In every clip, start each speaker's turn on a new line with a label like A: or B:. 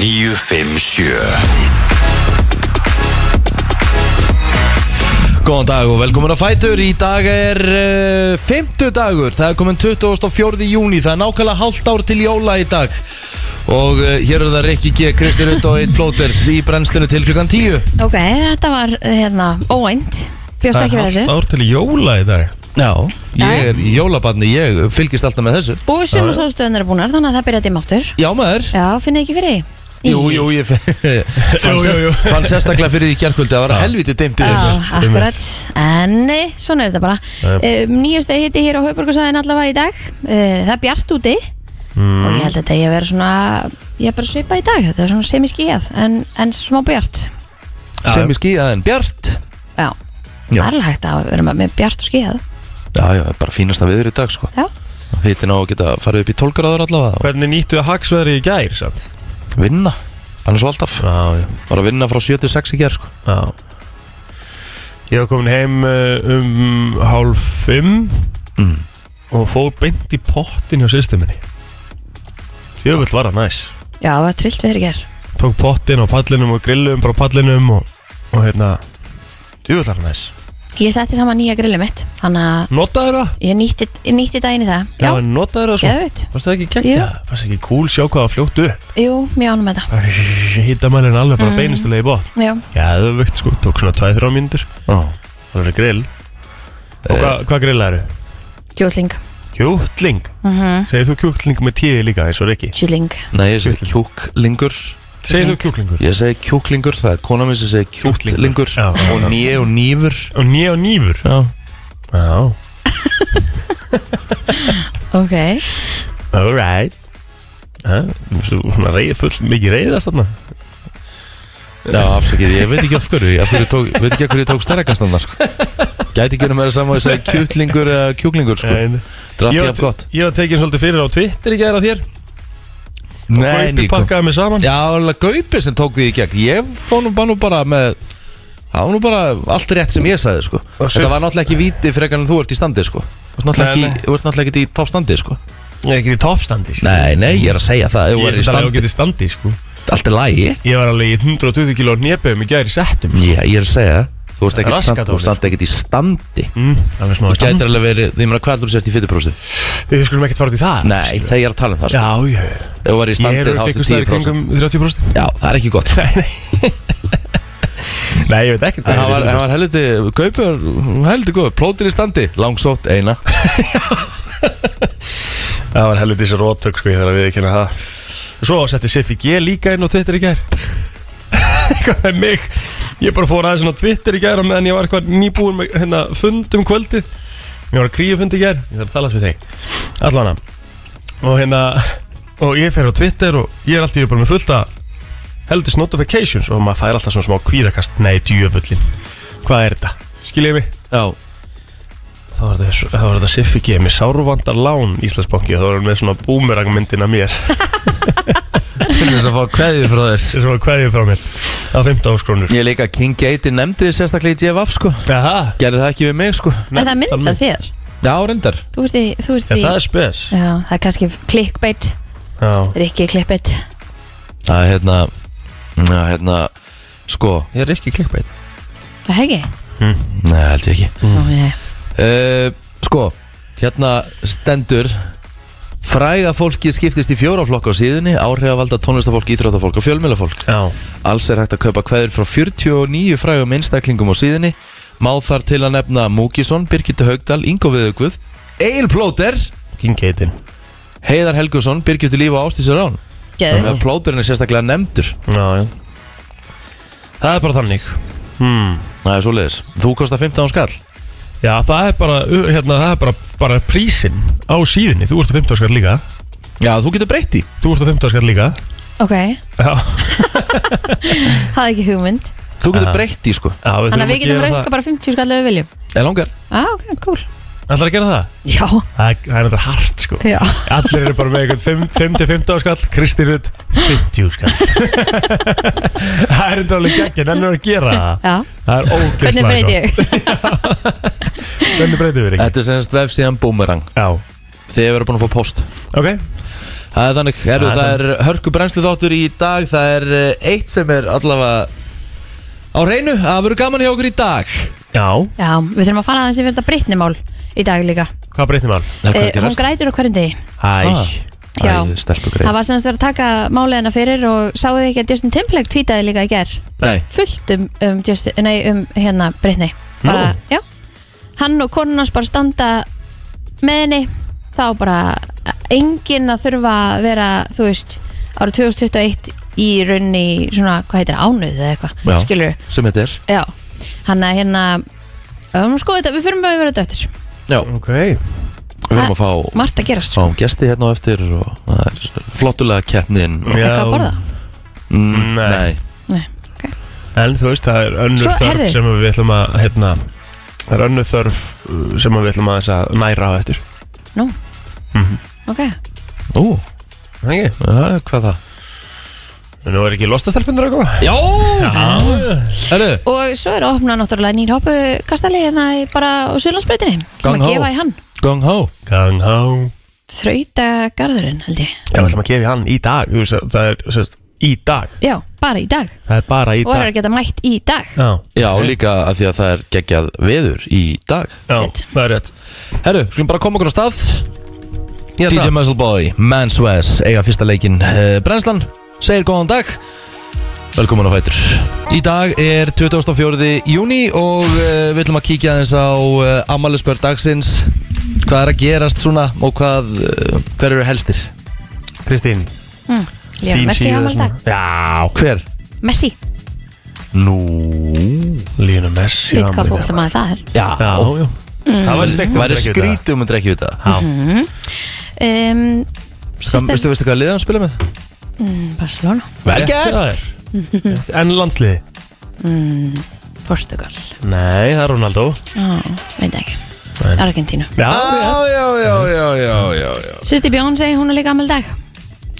A: 957
B: Góðan dag og velkomin að Fætur Í dag er uh, 50 dagur Það er komin 24. júni Það er nákvæmlega hálft ár til jóla í dag Og uh, hér eru það Rikki G, Kristi Rutt og Eitt Plóters Í brennslinu til klukkan 10
C: Ok, þetta var hérna óænt Bjóst ekki við þessu
D: ár til jóla í dag
B: Já, ég er í jólabarni Ég fylgist alltaf með þessu
C: Og sum og stóðstöðunar er búnar þannig að það byrja að dimma aftur
B: Já maður
C: Já, finn ekki fyrir því
B: Jú, jú, ég fann,
D: Jú, jú, jú.
B: fann sérstaklega fyrir því kjarkvöldi Það var helviti deimt í
C: Já,
B: þessu
C: akkurat En nei, svona er þetta bara um, Nýjasta hitti hér á Hauðborgarsæðin allavega í dag uh, Það er bjart úti Og
B: Mm.
C: ég held að þetta ég verið svona Ég er bara svipa í dag, þetta er svona semiskíð En, en smá bjart
B: Sem í skíðaðin Bjart
C: Já,
B: Já.
C: það er alveg hægt að vera með- með bjart og skíð
B: Já, já, bara fínasta viður í dag sko
C: Já,
B: Hittin á að geta farið upp í 12 gráður allavega
D: Hvernig nýttu að haksveðri í gær samt?
B: og Vinna, annars og alltaf
D: Já, já,
B: Var að vinna frá 7 til 6 í gerð sko
D: já Ég var komin heim eh, um hálf fimm og fór beint í pottin hjá systeminni Jöfull var það næs
C: Já það var trillt við hér í ger
D: Tók pottin á pallinum og grillum bara á pallinum og, og hérna Jöfull var það næs
C: Ég setti saman nýja grillið mitt Þannig að
D: Notaður það?
C: ég nýtti, ég nýtti daginn í það Já,
D: en notaður það svo?
C: geðut
D: Varst það ekki
C: Jú.
D: geggja? Varst það ekki cool sjá hvað það fljóttu?
C: Jú, mjög ánum með þetta
D: Hittamælinn alveg
C: Mm.
D: bara beinistilega í bótt
C: Já,
D: Gæðvögt sko, tók svona 2-3 mínútur
B: Já.
D: Það er grill Og hva, hvað grill eru?
C: kjúling
D: Kjútling
C: mm
D: Segir þú kjútling með tíði líka eins og Rikki?
C: Kjúling
B: Nei, ég segi kjúklingur
D: Segir þú kjúklingur?
B: Ég segi kjúklingur, það er kona minn sem segi kjúklingur
D: Já, já,
B: Og
D: já.
B: nýje og nýfur
D: Og nýja og nýfur
B: Já,
D: Já
C: Ok
D: Alright Ha? Þú svona reyð, full mikið reyðast þarna
B: já afsakið, ég veit ekki af hverju Ég af hverju tók, veit ekki af hverju ég tók stærkast annars sko. Gæti ekki verið meira saman að ég segi kjúklingur eða kjúklingur sko
D: En-
B: Draft
D: Ég
B: ég
D: var-
B: af gott
D: Ég var tekin svolítið fyrir á Twitter í gæra þér
B: Nei,
D: Gaupi
B: Níko
D: pakkaði mig saman
B: Já, alveg Gaupi sem tók því í gegn Ég fór nú bara, nú bara með Það var nú bara allt rétt sem ég sagði sko
D: Og
B: Þetta
D: Sif-
B: var náttúrulega ekki víti frekar en þú ert í standi sko Þú ert náttúrulega
D: Nei,
B: ekki- þú ert náttúrulega ekki í toppstandi sko
D: Ég er ekki í toppstandi sko.
B: Nei, nei, ég er að segja það
D: Ég
B: Þú
D: er
B: er í
D: þetta alveg
B: standi,
D: ágætt í standi sko
B: allt er lægi
D: Ég var alveg í 120 kg népum í gæri settum
B: Já, ég er að segja það Þú ert ekki
D: Raskat á
B: standi, þú
D: þér,
B: standi ekkert í standi
D: mm, Alveg smá í
B: Þú
D: standi
B: gætir alveg verið, því maður hvað heldur þú sért í fytuprósti
D: Við skulum ekkert fara út í það
B: Nei, þegar ég er að tala um það sko.
D: Já, já
B: Ef Þú var
D: Ég
B: í
D: er
B: standi, þá
D: auðvitað
B: ertu
D: ykkur staðar kringum
B: 10%
D: 30%
B: Já, það er ekki gott sko.
D: Nei, nei Nei, ég veit ekkert
B: En hann var, hann var helviti, Gaupur, helviti góð Plótir í standi, langsótt, eina
D: Það var helviti þessi róttök sko, ég þarf að við ekki hérna það Svo setti Siffi G líka inn á Twitter í gær Hvað með mig Ég bara fór aðeins inn á Twitter í gær á meðan ég var eitthvað nýbúin með hérna fund um kvöldi Ég var að kríu fund í gær Ég þarf að tala við þig Allan að Og hérna Og ég fer á Twitter og ég er alltaf bara með fullta Heldist notifications og maður fær alltaf svona smá kvíðakast Nei, djöfullin Hvað er þetta? Skiljið mig
B: Já,
D: Þá var þetta- þá var þetta Siffi G með sárvandar lán Íslandsbanki og þá var hann með svona boomerangmyndina mér
B: til þess að fá kveðið frá þér
D: sem var hverju frá mér á 15 skrónur
B: Ég líka King Gate nefndi þið sérstaklega í DFF sko
D: Jaha
B: Gerði það ekki við mig sko
C: Er það mynd af þér?
B: Já, reyndar
C: Þú ert í, þú ert
D: Já,
C: í
D: það er spes
C: Já, það er kannski clickbait
D: Já
C: Rikki clickbait
B: Það er hérna, já, hérna, sko,
D: Ég er ekki klikkbæt
C: Það hegi?
D: Hm.
B: nei, held ég ekki
C: Mm. Nú, ég
B: uh, Sko, hérna stendur Fræga fólki skiptist í fjóra flokka á síðunni Áhrifavalda tónlistafólk, íþróttafólk og fjölmjölafólk
D: Já
B: Alls er hægt að kaupa kveður frá 49 frægum einstaklingum á síðunni Má þar til að nefna Múkisson, Birgitta Haugdal, Ingo Viðugvud Egil Plóter,
D: Kingeitin
B: Heiðar Helgusson, Birgitta Líf og Ástísi Rán Þannig að
C: Geðut
B: Plóterinn er sérstaklega nefndur
D: Já, já Það er bara þannig hmm.
B: Það er svoleiðis, þú kostar 15 skall
D: Já, það er bara, uh, hérna, það er bara, bara prísin á síðunni Þú ert á 15 skall líka
B: Já, þú getur breytt í
D: Þú ert á 15 skall líka
C: Ok,
D: Já,
C: það er ekki hugmynd
B: Þú getur
D: Aha.
B: breytt í sko
D: já við
C: Þannig
D: þurfum
C: að við getum
D: gera
C: rauka
D: það
C: bara 50 skall ef við viljum
B: Er langar?
C: Já, ah, ok, cool
D: Ætlar að gera það?
C: Já,
D: Það er, það er náttúrulega hart sko
C: já
D: Allir eru bara með einhvern 5-15 skall Kristi Rutt 50 skall Það er þetta alveg geggja Nennar að gera það
C: Já,
D: Það er ógeðslega
C: hvernig breyt
D: sko.
C: ég?
D: gott. Hvernig breytir við ekki?
B: Þetta er semst vefsíðan Boomerang
D: Já,
B: Þið hefur verið búin að fá post
D: ok
B: Það er þannig, herru,
D: Það er
B: það er hörku brennslu þáttur í dag Það er eh, eitt sem er allavega á reynu Það verður gaman hjá okkur í dag
D: Já,
C: Já, við þurfum að fara aðeins yfir þetta brittnimál í dag líka
D: hvað breytnum hann?
B: Það er hvað
C: Eh, Hún
B: gerast
C: grætur á hverjum degi
B: Ah.
D: Æ,
C: Já.
B: Æ, stelp og
C: Það
B: greið
C: var semst verið að taka málið hennar fyrir og sáðu þið ekki að Justin Timberlake tweetaði líka í ger
B: Nei,
C: fullt um, um, Justin, nei, um hérna Britney bara, já, hann og konun hans bara standa með henni þá bara enginn að þurfa að vera þú veist, ára 2021 í raunni svona, hvað heitir, það, ánauð eða
B: Já.
C: eitthvað, skilur
B: sem þetta er
C: já, hann að hérna um, sko þetta, við fyrir að vera þetta eftir
B: Já,
D: ok
B: við erum að fá
C: margt að Ah, gerast, sko,
B: Sáum gesti hérna á eftir og það er flottulega keppnin og-
D: Já.
C: eitthvað að borða
B: Mm,
D: Nei.
B: Nei
C: nei, ok,
D: En þú veist, það er önnur
C: Svo,
D: þörf
C: heyrðu.
D: sem við ætlum að hérna, það er önnur þörf uh, sem við ætlum að, þess að næra á eftir
C: nú
D: Mhm.
C: ok,
B: Ú,
D: Þannig,
B: ja, hvað það?
D: nú er ekki lostastelpundur að koma
B: Já,
D: Já,
B: herru
C: Og svo er að opna náttúrulega nýr hoppu kastali hérna í- bara á Sjölandsbreytinni
B: Gang
C: Gang
B: ho.
C: að gefa í hann
B: Gong ho
D: gang há
C: Þrautagarðurinn held ég
D: Já, við ætlum að gefa í hann í dag Þú veist, það er sérst, í dag
C: Já, bara í dag
D: Það er bara í
C: Og er
D: dag
C: að geta mætt í dag
D: Já,
B: Já, líka af því að það er geggjað veður í dag
D: já,
C: Rétt.
D: það er rétt
B: Herru, skulum bara koma okkur á stað
D: Ég held
B: DJ
D: að-
B: Muzzleboy, Mans Wes eiga fyrsta leikinn uh, Brennslan, segir góðan dag Velkomin á Fætur Í dag er 24. júni og uh, við ætlum að kíkja aðeins á uh, ammælisbörn dagsins Hvað er að gerast svona og hvað, uh, hver eru helstir?
D: Kristín,
C: mm. Já,
D: þín
C: Messi
D: síða
C: ámæli
D: svona.
C: dag
D: Já,
B: Hver?
C: Messi,
B: Nú
D: Línu Messi
C: ég veit hvað
D: afmæli.
C: fólk maður það er
B: Já, Mm.
D: Já, já Það væri steikt
B: væri skrítið um að drekja við það
D: Já,
C: Hmm. um,
B: Sam,
C: Sýstir
B: veistu, veistu hvað liðan spila með?
C: Hmm, Barcelona,
B: Vel gert!
D: gert En landsliði?
C: Hmm, Portugal
D: Nei, það er Ronaldo
C: Já, veit ekki
D: Nei.
C: Argentínu
D: Já, já
B: Ah,
D: Mm-hmm.
B: Já, já, já, já, já, já, já
C: Sýstir Bjónsei, hún er líka ammæli dag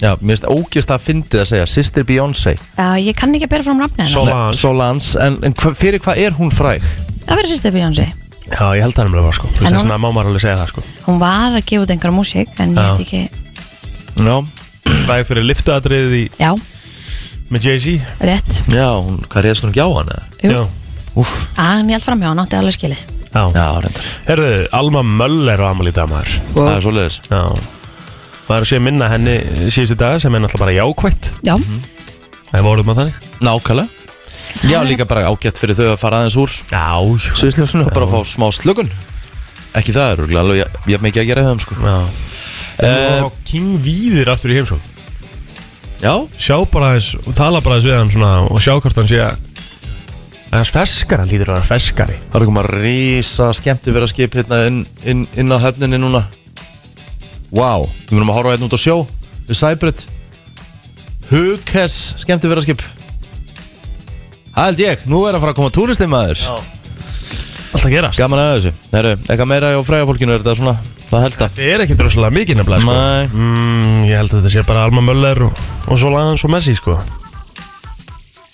B: Já, mér finnst ógjast að fyndið að segja Sister Beyoncé
C: Já, ég kann ekki að bera fram nafni hennar
D: Sol- Solange.
B: Nei, Solange, en, en hva, fyrir hvað er hún fræg?
C: Það verður Sýstir Bjónsei
D: Já, ég held það nefnilega bara sko Þú
C: En
D: veist
C: hún-
D: þess að má maður alveg segja það sko
C: Hún var að gefa út einhverja músík En ég
D: Já.
C: veit ekki,
B: Já,
D: Fræði fyrir liftuatriðið í
C: já,
D: með Jay-Z
C: rétt
B: já hún, hvað reyðst hún ekki á hana?
C: Jú.
D: Já,
B: Úf,
C: að hann held Ah, framhjá, hann átti alveg skilið
D: já
B: já, reyndar
D: Herðu, Alma Möller á Amalí Damar
B: Það er svoleiðis
D: Já Maður sé að minna henni síðustu daga sem er náttúrulega bara jákvætt
C: Já,
D: Það er voruð maður þannig
B: Nákvæmlega Já, líka bara ágætt fyrir þau að fara aðeins úr
D: Já, jú.
B: Sviðsljósunni og bara fá smá slökun Ekki það, er örugglega alveg jafn- jafn mikið að gera hjá þeim sko
D: já
B: Eh,
D: Og King Víðir aftur í heimsók
B: Já,
D: Sjá bara þess og tala bara þess við hann svona Og sjá hvort hann sé að að Hans feskara lítur að hann feskari
B: það er komað rísa skemmti vera skip hérna inn, inn, inn á höfninni núna Vá, við munum að horfa hérna út á sjó Við Sæbrit Hughes skemmti vera skip Það held ég, nú er að fara að koma túristin maður
D: Alltaf gerast
B: Gaman að þessu Herru, eitthvað meira á fræga fólkinu er þetta svona Það helsta
D: Þetta er ekkert rosalega mikið nefnilega sko.
B: Nei.
D: mm, Ég held að þetta sé bara Alma Möller og, og svo laðan svo Messi sko.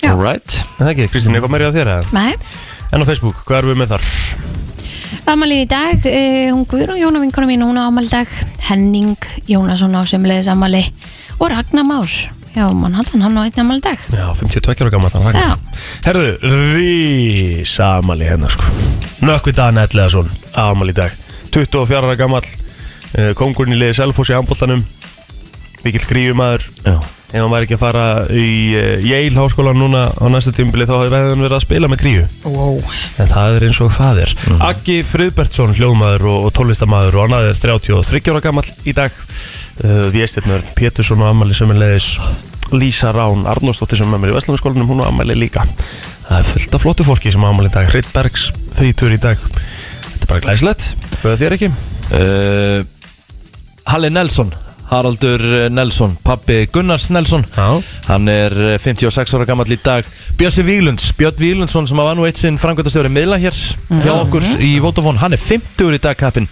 C: Já. Mm.
B: Alright
D: Er Það ekki, Kristín, eitthvað meira á þér eða?
C: nei
D: En á Facebook, hvað erum við með þar?
C: Amalín í dag, uh, hún Guðrún Jóna vinkona mín, hún á amal dag Henning Jónasson á semleiðis amali og Ragnar Már Já, mann haldan hann á einni amal dag
D: Já, 52 ára gammal
C: Já,
D: Herðu, rísa amali hennar sko. Nökkvi Dan Elleðason amali í dag 24 ára gammal uh, Kongurinn í liði Selfoss í handbóltanum Mikill grífumæður
B: Já,
D: Ef hann væri ekki að fara í uh, Yale háskóla núna á næsta tímbili þá hefði hann verið að spila með gríu
C: wow.
D: En það er eins og það er Aggi Friðbertsson, hljóðmaður og, og tólestamaður og annað er 33 ára gammal í dag uh, Viestirnur Pétursson og Amali sömulegis Lísa Rán Arnósdóttir sem er með mér í Vestlandskólanum hún og Amali líka Það er fullt af flottu fólki sem á Amali í dag Rittbergs, þrítur í dag Þetta er bara glæslegt, höfðu þér ekki?
B: Uh, Halli Nelson Haraldur eh, Nelson, pappi Gunnars Nelson
D: Já.
B: hann er eh, 56 ára gammal í dag Bjössi Víglunds, Björn Víglundsson sem var nú eitt sinn framkvæmtastjóri miðla hér hjá okkur í Votafón, hann er 50 í dag kappin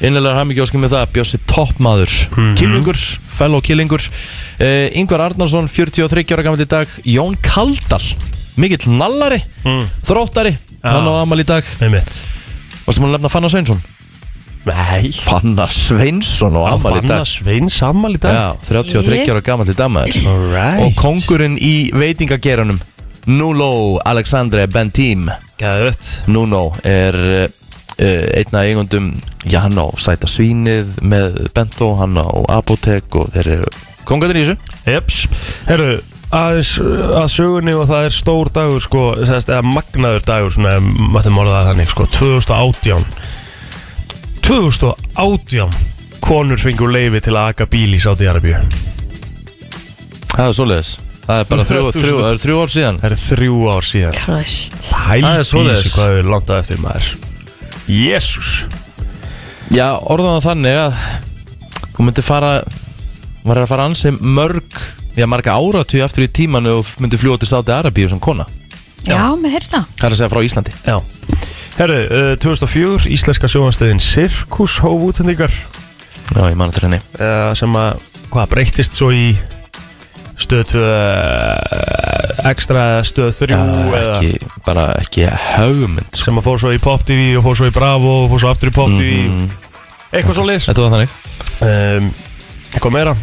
B: innlega hamingjóskin með það Bjössi toppmaður,
D: Mhm.
B: killingur fellow killingur uh, Ingvar Arnarsson, 43 ára gammal í dag Jón Kaldal, mikill nallari þróttari,
D: Mhm. Já.
B: hann á amal í dag
D: Með mitt
B: varstu múin að nefna Fannar Sveinsson?
D: Nei
B: Fannar Sveinsson og Amal í dag
D: Fannar Sveins ammali í dag
B: Já, 33 ára gammal í damaður
D: Alright.
B: Og kongurinn í veitingageranum Nulo Alexandre Bentim
D: Gæðvett
B: Nuno er uh, einn af eigundum Já, hann á Sæta Svínið með Bento, hann á Apotek og þeir eru kongarnir í þessu
D: Jeps Herru aðeins uh, að sögunni og það er stór dagur sko sest, eða magnaður dagur svona ef maður málið það þannig sko 2018 2018 konur fengur leifi til að aka bíl í Sáti-Arabíu
B: Það er svoleiðis Það er bara þrjú, þrjú, það eru þrjú ár síðan
D: Það er þrjú ár síðan
C: Christ
B: Það er
D: Hældi
B: svoleiðis.
D: þessu hvað við langt að eftir maður Jésús
B: Já, orðan það þannig að Hún myndi fara Hún var að fara ansi mörg Já, marga áratu aftur í tímanu og myndi fljóta til Sáti Arabíu sem kona
C: Já, mér heyrst það
B: Það er að segja frá Íslandi
D: Já Herru, uh, 2004 Íslenska sjóhanstöðin Sirkus hóf útsendingar
B: Já, ég man eftir henni
D: uh, sem að hvað breyttist svo í stöð 2 uh, ekstra eða stöð 3
B: Já,
D: eða
B: ekki, bara ekki högmynd sko.
D: sem að fór svo í Pop TV og fór svo í Bravo og fór svo aftur í Pop TV eitthvað svo leis
B: Mhm. Þetta var þannig
D: um, eitthvað meira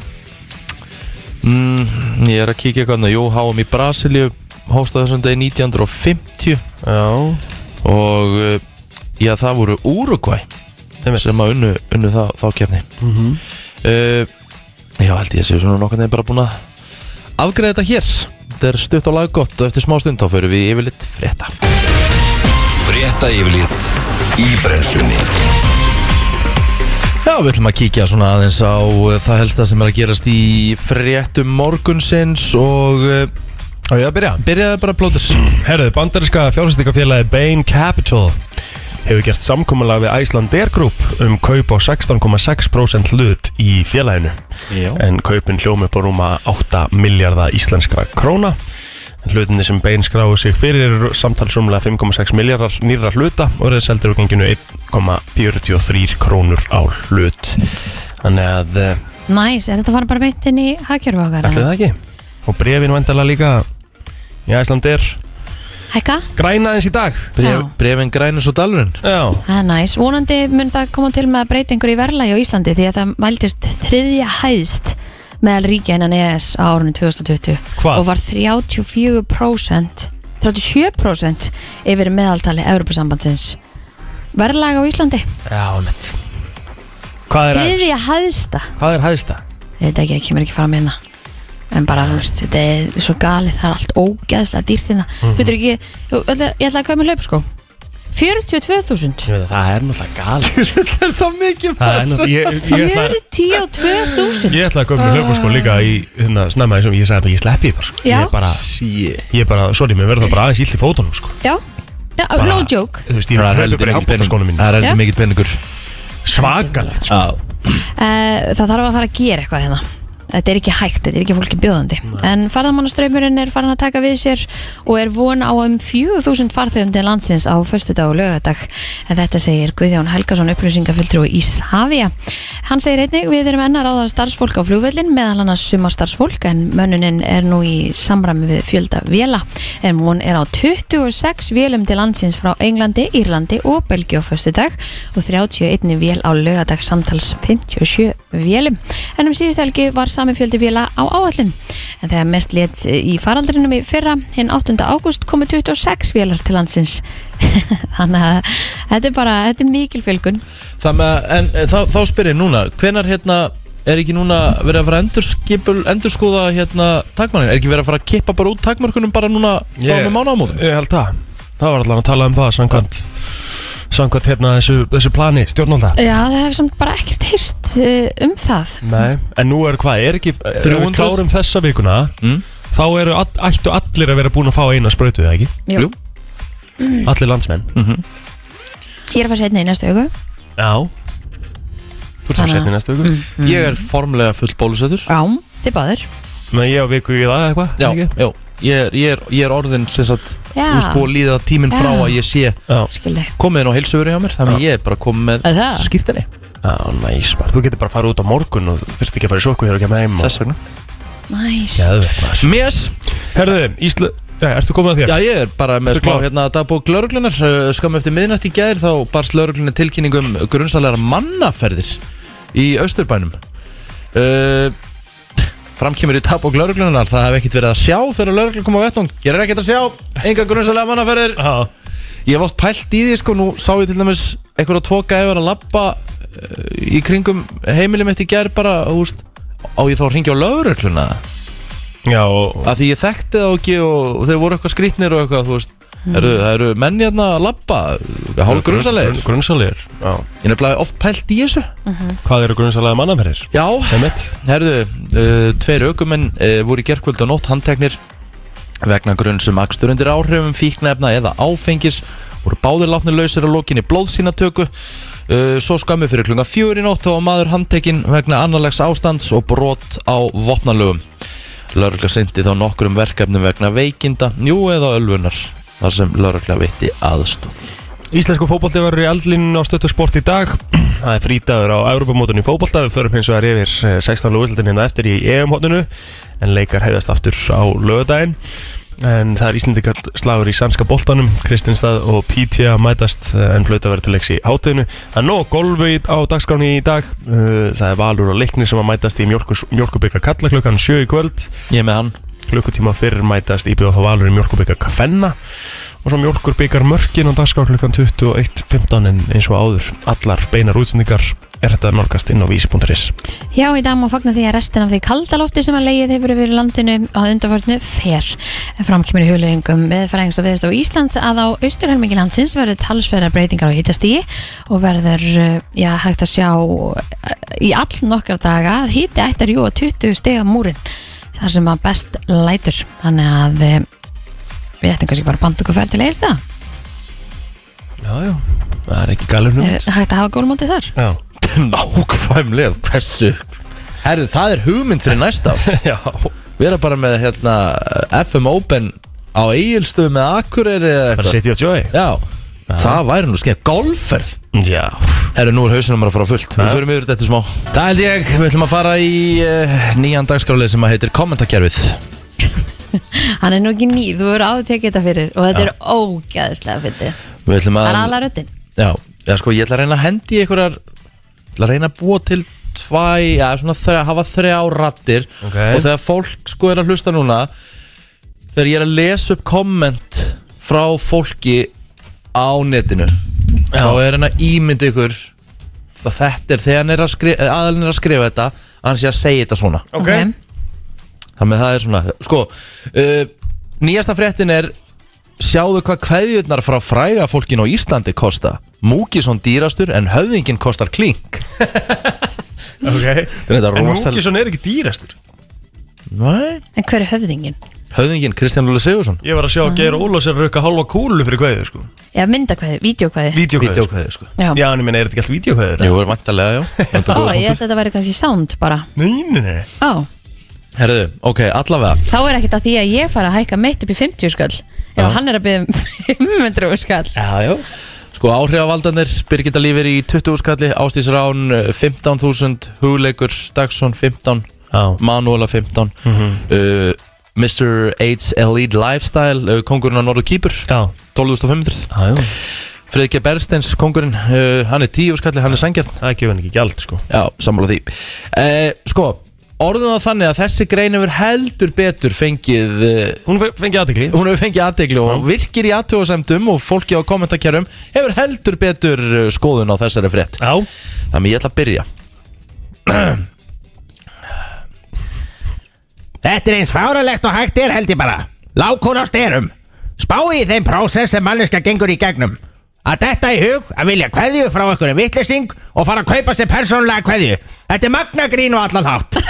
B: mm, Ég er að kíkja eitthvað annað. Jú, háum í Brasilíu Hófst á þessum degi 1950
D: Já,
B: Og uh, já, það voru Uruguay
D: þeim
B: Sem að unnu, unnu þá, þá kefni
D: mm -hmm.
B: uh, Já, held ég að séu svona nokkarnið bara búin að Afgreða þetta hér Þetta er stutt á lag gott og eftir smá stund þá fyrir við yfirleitt frétta
A: Frétta yfirlit í brennslunni
B: Já, við ætlum að kíkja svona aðeins á uh, það helsta sem er að gerast í fréttum morgunsins og uh,
D: Og ég að byrja
B: byrjaði bara plótur
D: Herðu, bandariska fjárfæstingafélagi Bain Capital hefur gert samkomulag við Icelandair Group um kaup á 16,6% hlut í félaginu
B: Já
D: en kaupin hljómi upp á rúma 8 miljardar íslenskra króna en hlutinni sem Bain skráðu sig fyrir eru samtalsrúmlega 5,6 miljardar nýra hluta og eru seldir á genginu 1,43 krónur á hlut þannig að, eh,
C: Næs, er þetta að fara bara beint inn í hagkjörfu okkar?
D: ætli það ekki og brefin vandalega líka í Icelandair
C: Hækka?
D: græna eins í dag
B: Bref,
C: Já.
B: Brefin grænus og dalurinn
D: Já,
C: Það er næs. Vonandi mun það koma til með breytingur í verðlægi á Íslandi því að það mæltist þriðja hæðst meðal ríkja innan ES á árunni 2020
D: Hvað?
C: og var 34% 37% yfir meðaltali Evropasambandsins. Verðlægi á Íslandi.
D: Já, mitt Hvað er, hæst,
C: Þriðja hæðsta.
D: hvað er hæðsta?
C: Ég veit ekki, ég kemur ekki fram hérna. En bara, þú veist, þetta er svo galið, það er allt ógæðslega dýrt hérna. Mm -hmm. ekki, ég ætla, ég ætla að kaupa mér hlaup, sko.
D: Veit,
C: 42.000.
D: það er náttúrulega galið
C: sko.
B: Er það mikið
D: Það er náttúrulega Ég, ég, ætla,
C: 42.000.
D: ég ætla að köpa mér hlaupa sko líka í hérna, snemma eins og ég sagði bara ég sleppi því bara, sko.
C: Já.
D: Ég er bara,
B: Sýi
D: ég er bara, sorry, mér verður það bara aðeins illt í fótunum sko.
C: Já, já
D: bara,
C: Oh, no joke
D: Þú veist, ég er hlaupa bara í handbóttaskónum mín
B: Það er
C: Já.
B: heldur mikið peningur
D: Svakalegt sko.
B: Já
C: uh, Það þarf að fara að gera eitthvað hérna Þetta er ekki hægt, þetta er ekki fólki bjóðandi En farðamannaströymurinn er farin að taka við sér og er von á um 4.000 farþegum til landsins á föstudag og lögadag en þetta segir Guðjón Helgason upplýsingafulltrú í Savia Hann segir einnig, við erum enn að ráða starfsfólk á flugvöllin meðal annars suma starfsfólk en mönnunin er nú í samræmi við fjölda vela en hún er á 26 velum til landsins frá Englandi, Írlandi og Belgíu á föstudag og 31 vél á lögadag samtals 57 vélum en um síðust helgi var sami fjöldi vela á áallin en þegar mest let í faraldrinum í fyrra hinn 8. ágúst komu 26 vélar til landsins þannig að þetta er bara þetta er mikil fjölgun
B: Það með, en e, þá, þá spyr ég núna Hvenar hérna Er ekki núna verið að fara að endurskipul, endurskoða hérna takmarkin? Er ekki verið að fara að kippa bara út takmarkunum bara núna frá
D: Ég-
B: með mánamóðum?
D: Ég held það Það var allan að tala um það samkvæmt samkvæmt hérna þessu, þessu plani stjórnalda
C: Já, það hefur samt bara ekkert hýrst um það
D: Nei, en nú er hvað, er ekki ef við
B: 300?
D: klárum þessa vikuna
B: Mm.
D: þá eru all, ættu allir að vera búin að fá eina sprautu, eða ekki?
B: Jú.
D: Allir landsmenn
B: Mhm.
C: Ég er að fara setna í næstu auku
D: Já Þú ert
C: Þannig
D: svo
C: að-
D: setni næstu viku mm.
B: Ég er formlega full bólusettur
C: Já, þið báður
D: Nei, ég á viku í það eitthvað
B: Já,
D: ekki?
B: já Ég er, ég er, ég er orðin sem sagt Þú veist búið
C: Já,
B: að líða tíminn frá
C: Já.
B: að ég sé
D: Já,
C: skilði
B: komið inn á heilsuveru hjá mér Þannig að ég er bara komið
C: Er
B: með
C: það?
B: skýrtinni
D: já næs bara Þú getur bara að fara út á morgun og þurft ekki að fara í sjóku þegar þú kemur heim og...
B: Þess vegna
C: Næs
D: Geðveikt, maður.
B: Mér
D: Herðu, Ísla... Já, ertu komið að þér?
B: Já, ég er bara með
D: Ertu
B: smá
D: klár?
B: hérna dagbók lauruglunar Skam eftir miðnætt í gær þá barst lauruglunar tilkynning um grunnsalega mannaferðir í Austurbænum uh, Framkemur í dagbók lauruglunar það hef ekkert verið að sjá þegar lauruglun kom á vettung Ég er ekkert að sjá, enga grunnsalega mannaferðir
D: Já,
B: Ég hef oft pælt í því sko, nú sá ég til dæmis einhverja tvo gæfur að labba uh, í kringum heimilum eftir gær bara, þú veist á ég þá að ringja á laurugluna
D: já og,
B: að því ég þekkti þá ekki og þau voru eitthvað skrýtnir og eitthvað, þú veist eru, það eru menn hérna að labba hálf grunsalegir,
D: Grun- Grunsalegir, já
B: ég er nefnilega oft pælt í þessu
D: Hvað eru grunsalega mannaferðir?
B: já,
D: Einmitt
B: herðu uh, tveir aukumenn uh, voru í gerkvöld og nótt handteknir vegna grunn sem akstur undir áhrifum fíknefna eða áfengis voru báðir látni lausir að lokinni blóðsýnatöku uh, svo skammi fyrir klunga fjögur í nótt þá var maður handtekinn vegna annarlegs ástands og brot á vopnalögum Lörgla sendi þá nokkrum verkefnum vegna veikinda, njú eða ölfunar þar sem lörgla veitti aðstóð
D: Íslensku fótbolti verður í aldlínu á stöttu sport í dag Það er frítagur á Europamótunni í fótbolta Við förum hins vegar yfir eh, 16 lúðsildin hérna eftir í EM-hóttinu En leikar hefðast aftur á lögadaginn En það er Íslendikall slagur í Sandska boltanum Kristinstað og Pítja mætast eh, En flöta verður til leiks í hátíðinu Það er nóg golfið á dagskráni í dag Eh, Það er valur og leikni sem að mætast í Mjölkubika kalla klukkan 7 í kvöld
B: ég er með hann
D: klukkutíma fyrr mætast íbjóð þá valur í mjölkurbyggar kafenna og svo mjölkurbyggar mörkin á dagskrá klukkan 21.15 en eins og áður allar beinar útsendingar er þetta nálgast inn á vísi.is
C: Já, í dag má fagna því að restin af því kalda lofti sem að leið hefur verið landinu á undarförnu fer. Framkymur í huglegum með fræðings og viðstof Íslands að á austurhelmingi landsins verður talsverðar breytingar á hitastíi og verður, eh, já, hægt að sjá eh, í all nokkra daga að hiti ættar jú að 20 stiga múrin þar sem að best lætur. Þannig að eh, við ættum kannski bara að banda okkur ferð til eigist það.
D: Já, já, það er ekki galur nú
C: Eh, Hægt að hafa gólmóti þar.
D: Já,
B: nákvæmlega, hversu herru, það er hugmynd fyrir næsta ár
D: já,
B: vera bara með hérna, FM Open á Egilstöðu með Akureyri eða
D: bara
B: eitthvað
D: City of Joy
B: Já, það væri nú skemmt golferð
D: Já,
B: Herru, nú er hausinum að fara fullt Við
D: Já.
B: förum yfir þetta í smá Það held ég, við ætlum að fara í uh, nýjan dagskrálið sem að heitir kommentakerfið
C: Hann er nú ekki nýr, þú verður áður tekið þetta fyrir og þetta er ógæðislega fyndið.
B: Við ætlum
C: Það er
B: að
C: aðla röddinn.
B: Já, já, sko, ég ætla að reyna að hendi í einhverjar Ég ætla að reyna að búa til tvæ Já, svona þrjá, hafa þrjá rattir
D: Ok.
B: Og þegar fólk sko er að hlusta núna Þegar ég er að lesa upp komment Frá fólki á netinu
D: Já.
B: Þá er hann að ímynda ykkur Það þetta er þegar hann er að skrifa, aðalinn er að skrifa þetta að Hann sé að segja þetta svona
D: ok
B: Þannig að það er svona Sko, uh, nýjasta fréttin er Sjáðu hvað kveðjurnar frá fræga fólkin á Íslandi kosta Múkisson dýrastur en höfðingin kostar klink
D: okay.
B: Þetta er
D: En
B: rosal...
D: Múkisson er ekki dýrastur
B: Nei,
C: En hver er höfðingin?
B: Höfðingin Kristján Lúli Sigursson
D: Ég var að sjá að
B: Mhm.
D: Geir Ólafs er að rauka halva kúlu fyrir kveðið sko
C: Já, myndakvæði, vídeokvæði
D: Vídeokveðið sko.
B: Vídeókveðið sko
C: Já,
D: Já, en ég meina, er þetta ekki allt vídeokveðið?
B: Jú, er vantarlega, já
C: Ó,
B: Vantar góða punktur.
C: ég held að þetta væri kannski sound bara
D: Nei, nei, nei
C: Ó,
B: Herðu, ok, allavega
C: þá er ekkert að því að ég fara að hækka meitt upp í 50 skall Ef
B: Já.
C: hann er að byggja um 500 skall
D: Já, já
B: Sko, áhrifavaldanir Birgitta Lífur í 20 skalli Ástís Rán eh, 15.000 Hugleikur Dagsson 15
D: Já, Mhm.
B: Manuela 15 uh, Mr. H. E Elite Lifestyle uh, Kongurinn á Norðu Kýpur
D: já,
B: 12.500
D: já, já.
B: Fredrikja Bergsteins, kongurinn, uh, hann er tíu skalli, hann er sangjart
D: Það er ekki ekki gjald sko
B: Já, sammála því uh, Sko, orðum það þannig að þessi grein hefur heldur betur fengið uh,
D: Hún fe- fengi aðtegli
B: Hún hefur fengið aðtegli og virkir í aðtöfasemdum og fólki á kommentarkjærum hefur heldur betur uh, skoðun á þessari frétt
D: Já
B: Þannig ég ætla að byrja
E: Þetta er eins fáralegt og hægt er held ég bara Lákur á styrum Spái í þeim prósess sem manneska gengur í gegnum Að detta í hug að vilja kveðju frá einhverjum vittlýsing og fara að kaupa sér persónlega kveðju Þetta er magnagrín og allan hátt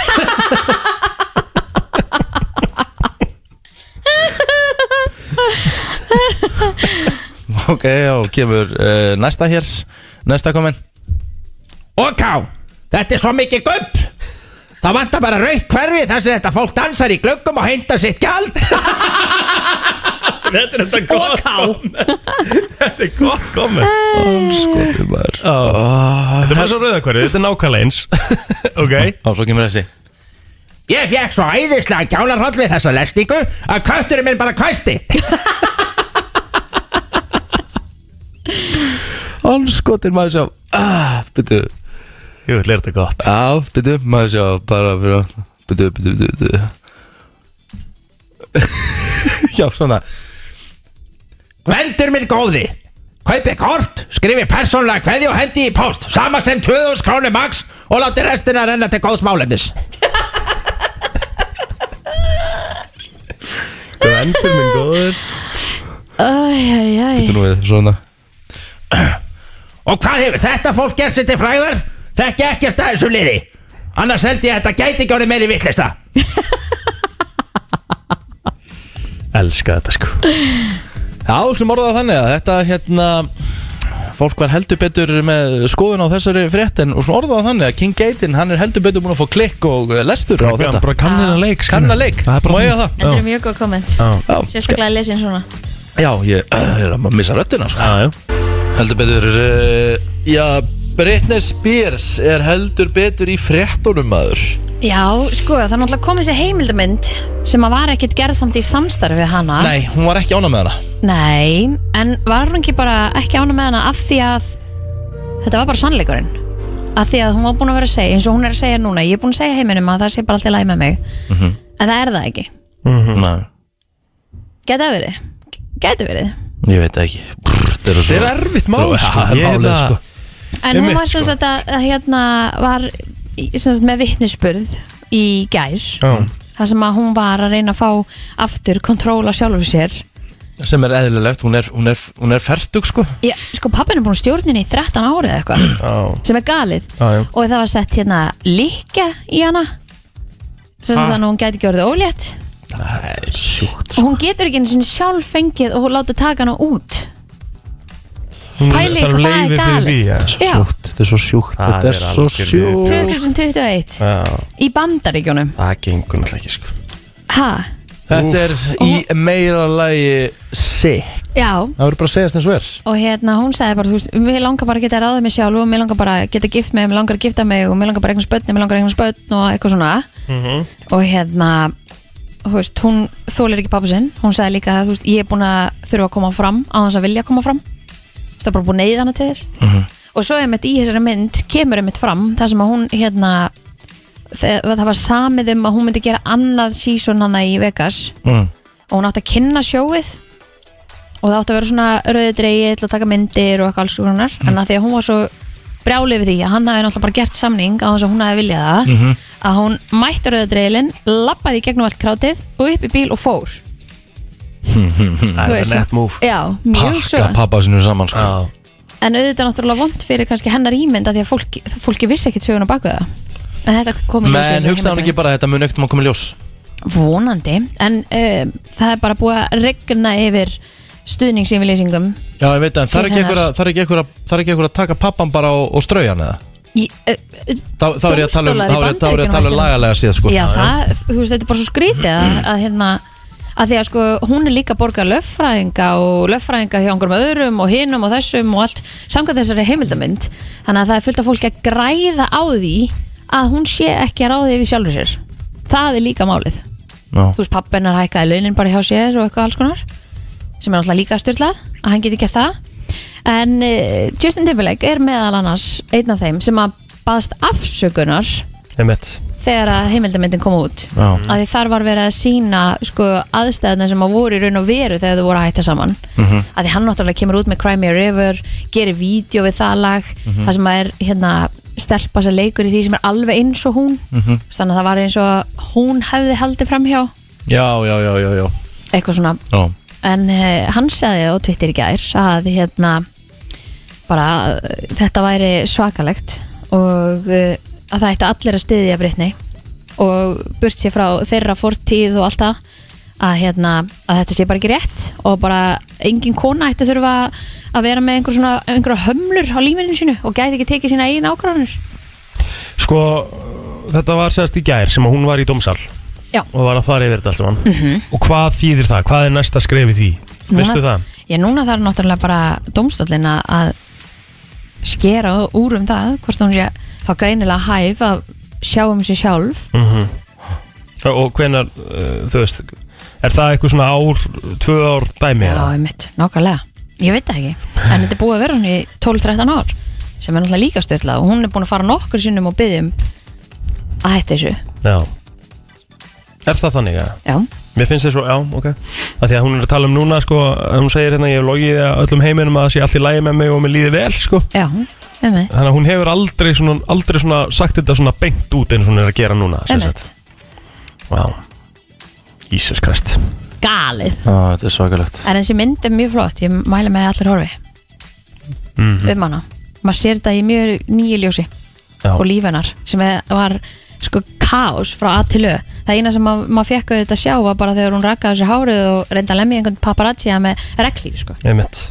B: Ok, og kemur uh, næsta hér, næsta komment
E: Og ká, þetta er svo mikið gupp Það vantar bara raukt hverfi þar sem þetta fólk dansar í glöggum og heindar sitt gjald
D: Þetta er þetta gott komment Þetta er gott komment
B: Skotum maður Ah.
D: Þetta er bara svo rauðakværi, þetta er nákvæmlega eins Ok
B: Og svo kemur þessi
E: Ég fekk svo æðislega kjálarhóll við þessa lestingu að kötturinn minn bara kvæsti
B: Allskotin maður sjá ah, Byttu,
D: Ég vil þetta gott
B: á, byttu, maður sjá Bara fyrir að, byttu, byttu, byttu, byttu Já, svona
E: Gvendur minn góði Kaupið kort, skrifið persónlega kveði og hendi í post Sama sem 2000 krónir max Og láti restina renna til góðs málefnis
D: Gvendur minn góður
B: Byttu nú við, svona
E: Og hvað hefur þetta fólk gert sér til fræðar? Þekki ekkert að þessu liði Annars held ég að þetta gæti ekki orðið meiri vitleisa
D: Elska þetta sko
B: Já, slum orðað það þannig að þetta hérna Fólk var heldur betur með skoðun á þessari frétt En og svona orðað það þannig að King Gaten Hann er heldur betur búin að fá klikk og eh, lestur á
D: Hann
B: þetta
D: bara kann hennar leik skilur.
B: Kanna leik,
D: Það er bara
B: má ég
D: þannig.
B: það?
C: Þetta er mjög góð komment
D: Já.
C: Sérstaklega lesin svona
B: Já, ég eh, er að missa röddina sko.
D: Já, já
B: Heldur betur uh, Já, Britney Spears er heldur betur í fréttunum maður
C: Já, sko, það er náttúrulega komið sér heimildamynd sem að var ekkert gerð samt í samstarfi við hana
B: Nei, hún var ekki ána með hana
C: Nei, en var hún ekki bara ekki ána með hana af því að þetta var bara sannleikurinn af því að hún var búin að vera að segja, eins og hún er að segja núna ég er búin að segja heiminum að það sé bara alltaf læg með mig
D: Mhm.
C: en það er það ekki
B: Nei,
C: Gæti verið, gæti verið
B: ég veit það ekki Brr, Þetta
D: Þetta er
B: svo-
D: erfitt mál,
B: Já,
D: sko.
B: það er
D: Ég
B: málið,
D: hefna-
B: sko.
C: En hún
D: Einmitt,
C: var sem
D: sko.
C: sagt að að hérna var í- sem sagt með vitnisspurð í gær
D: Já.
C: þar sem að hún var að reyna að fá aftur kontróla sjálfur sér
B: Sem er eðlilegt, hún er, hún er, hún er fertug sko
C: Já, sko pappin er búin stjórnin í 13 árið eða eitthvað
D: Já.
C: sem er galið
D: Já, já.
C: og það var sett hérna líkja í hana sem sagt þannig að hún gæti ekki orðið ólétt
B: Sjúkt
C: og hún getur ekki einu sinni sjálf fengið og hún láta taka hana út
D: Hún
C: Pæli,
D: þarf
C: hvað það
D: leyfi
C: er
D: fyrir
C: galið.
D: því, já.
C: Já.
B: Sjúkt, þetta er svo sjúkt
D: Það
B: Þetta er
D: er
B: svo
D: algjör viðbjóður.
B: sjúkt
C: 2021
D: Já,
C: í bandaríkjónum
D: Það gengur náttúrulega ekki sko
C: ha,
B: Þetta er í meira lagi sick
C: já
B: Það verður bara að segjast eins og er
C: og hérna hún sagði bara, þú veist, mér langar bara að geta ráðið mig sjálf og mér langar bara að geta gift mig, mér langar að gifta mig og mér langar bara eignast börn, mér langar eignast börn og eitthvað svona og hérna þú veist, hún þólir ekki pappi sinn hún sagði líka, þú veist, ég er búin að þurfa að koma fram á þess að vilja koma fram Þú veist, það er bara búin neyð hana til þér og svo einmitt í þessari mynd kemur einmitt fram þar sem að hún hérna þe- það var samið um að hún myndi gera annað sísón hana í Vegas
B: mm.
C: og hún átti að kynna sjóið og það átti að vera svona rauði dreigil og taka myndir og eitthvað alls konar
B: Mhm.
C: en að því að hún var svo brjálið við því að hann hafi náttúrulega bara gert samning á þess að hún hafi viljað það
B: Mhm.
D: Mhm.
C: að hún mætti rauði dreigilin lappaði í gegnum allt krátið og upp í bíl og fór
D: Það er nett múf
C: já, mjög svo
B: Pakka pappa sinu saman sko
D: Já
C: en auðvitað er náttúrulega vond fyrir kannski hennar ímynd að því að fólki, fólki vissi ekkit söguna baku það en þetta komið
B: Men hugsaði hann ekki bara að þetta mun ekkert maður komið ljós
C: vonandi, en um, það er bara búið að regna yfir stuðningsyfirlýsingum
B: Já, ég veit það, en það er
C: Til
B: ekki einhver
C: hennar.
B: að- það er ekki einhver að- það er ekki einhver að taka pappan bara og, og strauja hann eða?
C: Í- eh, eh,
B: Þá, þá er ég að tala um, þá
C: Dómstólar í
B: er ég, þá er ég að tala um
C: Bandaríkjunum,
B: lagalega síðan sko
C: Já, það, þú veist, þetta er bara svo skrítið að, að hérna að því að sko hún er líka að borga löffræðinga og löffræðinga hjá einhverjum öðrum og hinum og þessum og allt samkvæmt þessari heimildamynd þannig að það er fullt af fólki að græða á því að hún sé ekki að ráði yfir sjálfur sér það er líka málið
B: Já.
C: þú veist pappin er hækkaði launin bara hjá sér og eitthvað alls konar sem er náttúrulega líka styrlað að hann geti gert það en uh, Justin Timberlake er meðal annars einn af þeim sem að baðst afsökunar
D: Einmitt
C: þegar að heimildamyndin kom út
B: Já.
C: að því þar var verið að sína sko, aðstæðna sem að voru í raun og veru þegar þau voru að hætta saman að því hann náttúrulega kemur út með Cry Me a River gerir vídeo við það lag það sem að er hérna stelpa sem leikur í því sem er alveg eins og hún
B: Mhm.
C: þannig að það var eins og hún hefði haldið framhjá
B: Já, já, já, já, já,
C: eitthvað svona
B: já.
C: en eh, hann sagði á Twitter í gær að hérna bara eh, þetta væri svakalegt og eh, að það ættu allir að styðja Brittany og burt sér frá þeirra fortíð og allt það að, hérna, að þetta sé bara ekki rétt og bara engin kona ætti þurfa að vera með einhver svona, einhverja hömlur á lífinu sínu og gæti ekki tekið sína eigin ákvarðanir
D: Sko, þetta var sérst í gær sem að hún var í domsal
C: Já. Mhm.
D: Og var að fara yfir þetta allt saman -hmm. Og hvað þýðir það? Hvað er næsta skref í því? Veistu það?
C: Já, núna þarf náttúrulega bara dómstólinn að- að skera úr um það hvort hún sé þá greinilega hæf að sjá um sig sjálf
D: Mhm. Og hvenar, uh, þú veist Er það eitthvað svona ár, tvö ár dæmi?
C: Já,
D: eða?
C: einmitt, nákvæmlega Ég veit það ekki, en þetta er búið að vera hún í 12-13 ár sem er náttúrulega líka styrlað og hún er búin að fara nokkur sinnum og biðja um að hætta þessu
D: Já Er það þannig að?
C: Já,
D: Mér finnst það svo, já, ok að Því að hún er að tala um núna, sko að Hún segir hérna, ég hef logið að öllum heiminum að það sé allt í lægi með mig og mér líði vel, sko
C: já, með mig
D: Þannig að hún hefur aldrei, svona, aldrei svona sagt þetta svona beint út eins og hún er að gera núna sem
C: Einmitt,
D: sagt. Vá Jesus Christ
C: galið
B: ah, Þetta er svakalegt
C: En þessi mynd er mjög flott, ég mæla með að allir horfi
B: Mhm.
C: um hana maður sér þetta í mjög nýju ljósi
D: Já.
C: og lífennar sem er- var sko kaos frá A til Ö það eina sem ma- maður fekk að þetta sjá var bara þegar hún rakkaði sér hárið og reynda að lemja einhvern paparazzi með reglíf sko
D: Einmitt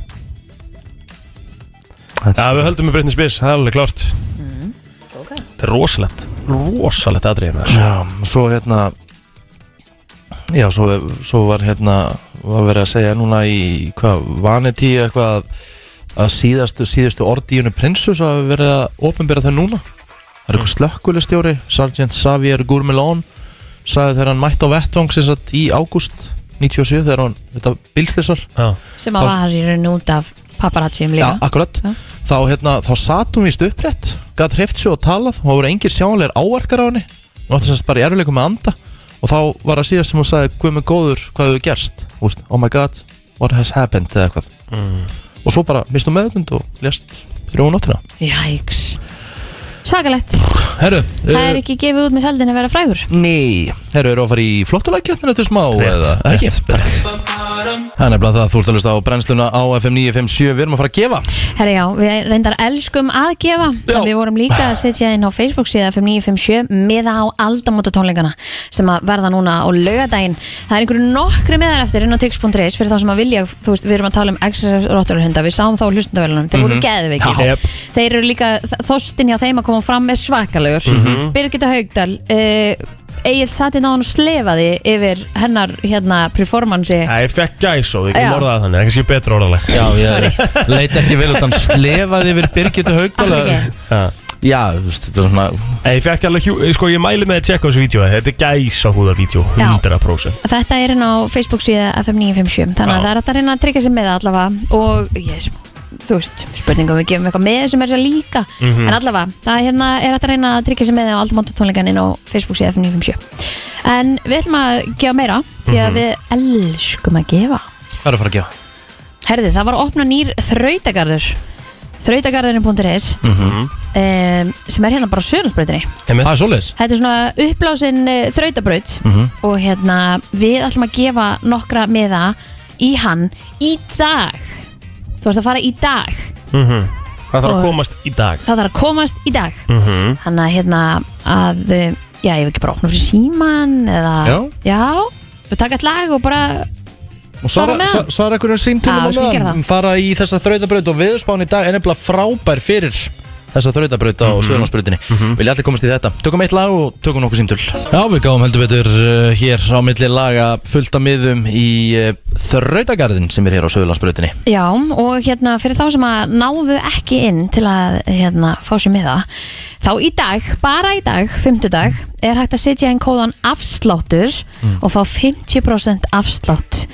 D: Já, við höldum með Britney Spears, það er alveg klárt Þetta er rosalegt Rosalegt aðriðin þess
B: Já, svo hérna Já, svo, svo var hérna var verið að segja núna í hvað, vanetí eitthvað að- að síðastu, síðustu orðíunu prinsus að verið að opinbera það núna Það er
D: Mm.
B: eitthvað slökkulistjóri Sargent Xavier Gourmelon sagði þegar hann mætt á vettvang sem sagt í ágúst 97 þegar hann, þetta bílstessar
D: Já,
C: sem að
B: Þá-
C: var í raun út af paparazzium líka
B: akkurat
C: Já.
B: Þá, hérna, þá satt hún víst upprétt Gat hreift sig og talað og það voru engir sjánleir áarkar á henni Hún átti semst bara í erfileikum með að anda Og þá var það síðast sem hún sagði Guð með góður, hvað hefur gerst Úst, Oh my god, what has happened eða eitthvað
D: Mm.
B: Og svo bara mistum meðutund og lest þrjóðu nóttina
C: Jæks Svakalegt,
B: Herru,
C: það er ekki gefið út með seldin að vera frægur
B: Nei, herru, eru að fara í flottulækjarnir eftir smá
D: Rétt,
B: eða,
D: rétt,
B: ekki?
D: rétt.
B: Það er nefnilega það að þú ert að hlusta á brennsluna á FM 957 Við erum að fara að gefa
C: Herra já, við reyndar elskum að gefa
B: Já.
C: en við vorum líka að setja inn á Facebook síða 5957 miða á aldamóta tónleikana sem að verða núna á laugadaginn Það er einhverju nokkri meðar eftir inn á tix.is fyrir þá sem að vilja, þú veist, við erum að tala um XRS Rotturhunda, við sáum þá hlustendavælunum þeir voru geðveikir,
D: Já. Jep.
C: þeir eru líka þostin hjá þeim að koma fram með svakalegur Birgitta Haugdal uh, Egil satt inn á hann hérna og slefaði yfir hennar hérna performansi
D: Já, ég fekk gæs og við
C: Já.
D: getum orðað það þannig, það er kannski betra orðalag
B: Já,
C: Sorry.
B: ég leit ekki vel að hann slefaði yfir Birgitu Haugdala
C: Alveg ekki.
D: Já.
B: Já, þú veist, þetta er svona
D: Nei, Ég fekk alveg, hjú- sko ég mæli með að tjekka á þessu vídeo Þetta er gæs á húðar vídeo,
C: Já.
D: 100%
C: Þetta er inn á Facebook síða FM957 þannig að
D: Já.
C: það er hægt að reyna að tryggja sig með það allavega og ég, sp- þú veist, spurningum við gefum eitthvað með sem er sér líka en allavega, það er hérna er hægt að reyna að tryggja sig með það á aldamóta tónleikan inn á Facebook síða FM957 en við ætlum að gefa meira því að við elskum að gefa
B: Hvað er að fara að gefa?
C: Herði, það var að opna nýr þrautagarður þrautagarðurinn.is mm
D: Mhm.
C: sem er hérna bara sörnarsbreytinni
B: Það er svoleiðis
C: Þetta er svona uppblásin uh, þrautabraut
B: Mhm.
C: og hérna við ætlum að gefa nokkra miða í hann í dag Þú varst að fara í dag
D: Mhm. Það þarf
C: Og-
D: að komast í dag Mhm.
C: Það þarf að komast í dag Þannig að hérna að eh, já, ég hef ekki bara opna fyrir síman eða,
B: Já.
C: já og taka eitt lag og bara
B: Og svara,
C: Svara með
B: svara,
C: hann.
B: svara einhverjum
C: Já,
B: símtölum
C: við skulum
B: á
C: gera
B: meðan um sko Fara í þessa þrautabraut og viðspán í dag er nefnilega frábær fyrir þessa þrautabraut
D: Mhm.
B: á mm -hmm. Söðunarsbrautinni Vilja allir komast í þetta Tökum eitt lag og tökum nokkuð símtöl Já, við gáum heldur betur uh, hér á milli laga fullt af miðum í uh, þrautagarðin sem er hér á Söðunarsbrautinni
C: Já, og hérna fyrir þá sem að náðu ekki inn til að hérna, fá sér með það þá í dag, bara í dag, fimmtudag er hægt að setja inn kóðan afsláttur
B: Mm.
C: og fá 50% afslátt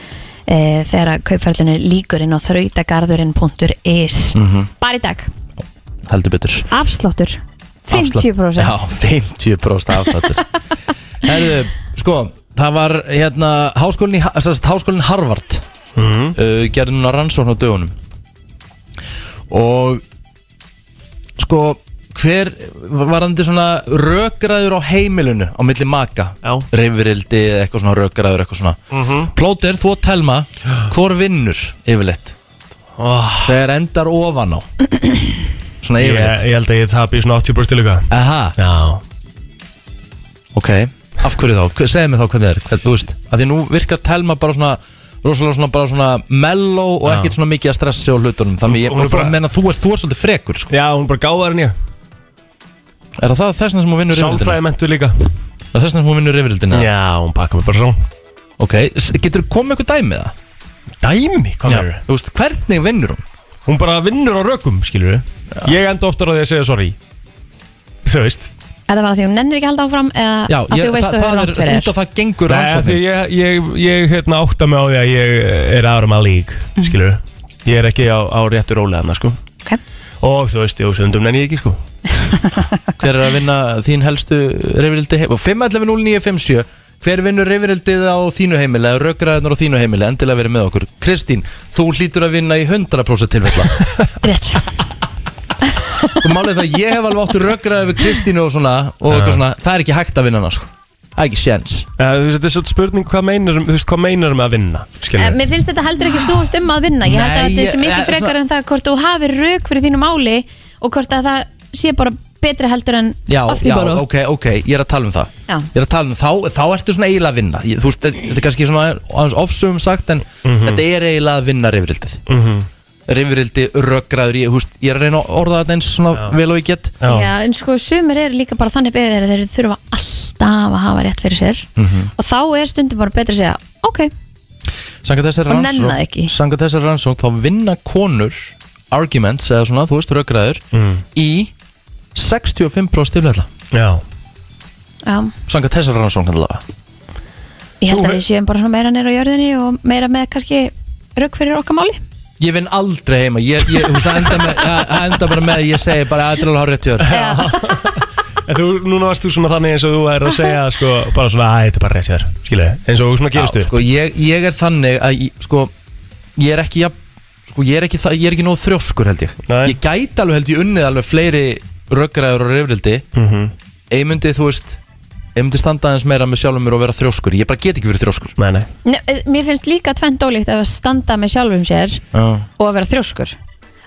C: e, þegar að kaupferðlinu líkur inn á þrautagarðurinn.is bara í dag,
B: Mhm. Heldur betur
C: afsláttur 50%
B: Afslátt. Já, 50% afsláttur Herðu, sko, það var hérna háskólinn, í, Ha- sem sagt, háskólinn Harvard
D: Mhm.
B: uh, gerði núna rannsókn á dögunum og sko hver varandi svona rökgræður á heimilinu á milli maka
D: Já. Mhm.
B: reyfrildi eða eitthvað svona rökgræður eitthvað svona mm -hmm. plóter þú og telma hvor vinnur yfirleitt
D: oh,
B: þegar endar ofan á svona
D: ég,
B: yfirleitt
D: ég held að ég tapi í svona 80% líka
B: aha
D: Já
B: ok af hverju þá Hver- segðu mér þá hvernig það er hvernig, þú veist að því nú virkar telma bara svona rosalega svona bara svona mellow og
D: Já.
B: ekkert svona mikið að stressi og hlutunum þannig ég
D: Hún- hún
B: bara
D: er
B: fór
D: bara-
B: að menna þú er þú er svolítið frekur sko.
D: Já, hún er bara gáðar en ég
B: er það það þessna sem hún vinnur yfirleitt
D: Sálfræðimentu líka
B: Það er þess vegna hún vinnur yfirildina
D: Já, hún pakka mig bara svona
B: Ok, s- getur þú komið eitthvað dæmið það?
D: Dæmi, um hvað er
B: Þú veist, hvernig vinnur hún?
D: Hún bara vinnur á rökum, skilur við Ég enda oftar á því að segja sorry Þú veist
C: Er það bara því hún nennir ekki að halda áfram eða
B: Já,
C: að
B: ég,
C: þú veist
B: það,
C: að þú
B: það
C: hefur
B: er
C: rátt fyrir
B: út
C: þér?
B: af það gengur
D: Nei, af því
B: rannsóknir
D: ég, ég, ég hérna átta mig á því að ég eh, er árum að lík
C: Mhm.
D: skilur, ég er ekki á, á réttu rólega sko.
C: Okay.
D: og þú veist, ég stundum nenni ég ekki sko.
B: Hver er að vinna þín helstu reyfrildi heim 5.11.09.57 Hver vinnur reyfrildið á þínu heimili eða rökraðunar á þínu heimili endilega verið með okkur Kristín, þú hlýtur að vinna í 100% tilfella
C: Rétt,
B: Þú Sko, málið það, ég hef alveg áttu rökraði við Kristínu og svona og eitthvað svona, það er ekki hægt að vinna hana sko. Það er ekki sjens
D: Eh, Þú veist, þetta er svolítið spurning hvað meinar, um- þú veist, hvað meinar með að vinna
C: Eh,
D: skilur.
C: mér finnst þetta heldur ekki snúast um að vinna Ég held að
B: Nei,
C: þetta sé
B: ég-
C: mikið
B: eh,
C: frekar
B: svona-
C: en það hvort þú hafir rauk fyrir þínu máli og hvort að það sé bara betri heldur en
B: Já,
C: off
B: já,
C: you borrow.
B: ok, ok, ég er að tala um það
C: Já.
B: Ég er að tala um þá, þá ertu svona eiginlega að vinna ég, Þú veist, þetta er kannski svona aðeins ofsum sagt en
D: Mhm.
B: þetta er eiginlega að vinna reyfrildið mm -hmm. Reyfrildi, rökraður, ég, þú veist, ég er að reyna að orða þetta eins svona vel og ég get
D: Já.
C: Já, en sko sumir eru líka bara þannig beðir að þeir þurfa alltaf að hafa rétt fyrir sér
B: Mhm.
C: og þá er stundum bara betra að segja ok,
B: Sanga þessari
C: Og nenna það
B: rannsókn
C: ekki.
B: Sanga þessari rannsókn, þá vinna konur arguments, eða svona, þú veist, rökraður
D: Mm.
B: í 65% tilfella
D: Já.
C: já,
B: Sanga þessari rannsókn allavega
C: ég held
D: Þú
C: að
D: hef-
C: við séum bara svona meira nýra á jörðinni og meira með kannski rauk fyrir okkar máli
B: Ég vinn aldrei heima Ég, ég þú veist, það enda, með, það- það enda bara með að Ég segi bara að þetta er alveg hár rétt hjá þér
C: Já.
D: En þú, núna varst þú svona þannig eins og þú er að segja sko, bara svona, að þetta er bara rétt hjá þér skilur, eins og svona gerist
B: Já,
D: þú
B: Sko, ég, ég er þannig að ég- Sko, ég er ekki jafn- Sko, ég er ekki, það- ég er ekki nóg þrjóskur held ég
D: Nei.
B: Ég gæti alveg held ég unnið alveg fleiri Röggræður og reyfrildi
D: mm -hmm.
B: Eymundi, þú veist Eymundi standa aðeins meira með sjálfum mér og vera þrjóskur Ég bara get ekki verið þrjóskur
D: Nei, nei,
C: Nei, eh, Mér finnst líka tvent ólíkt ef að standa með sjálfum sér
B: Já.
C: og að vera þrjóskur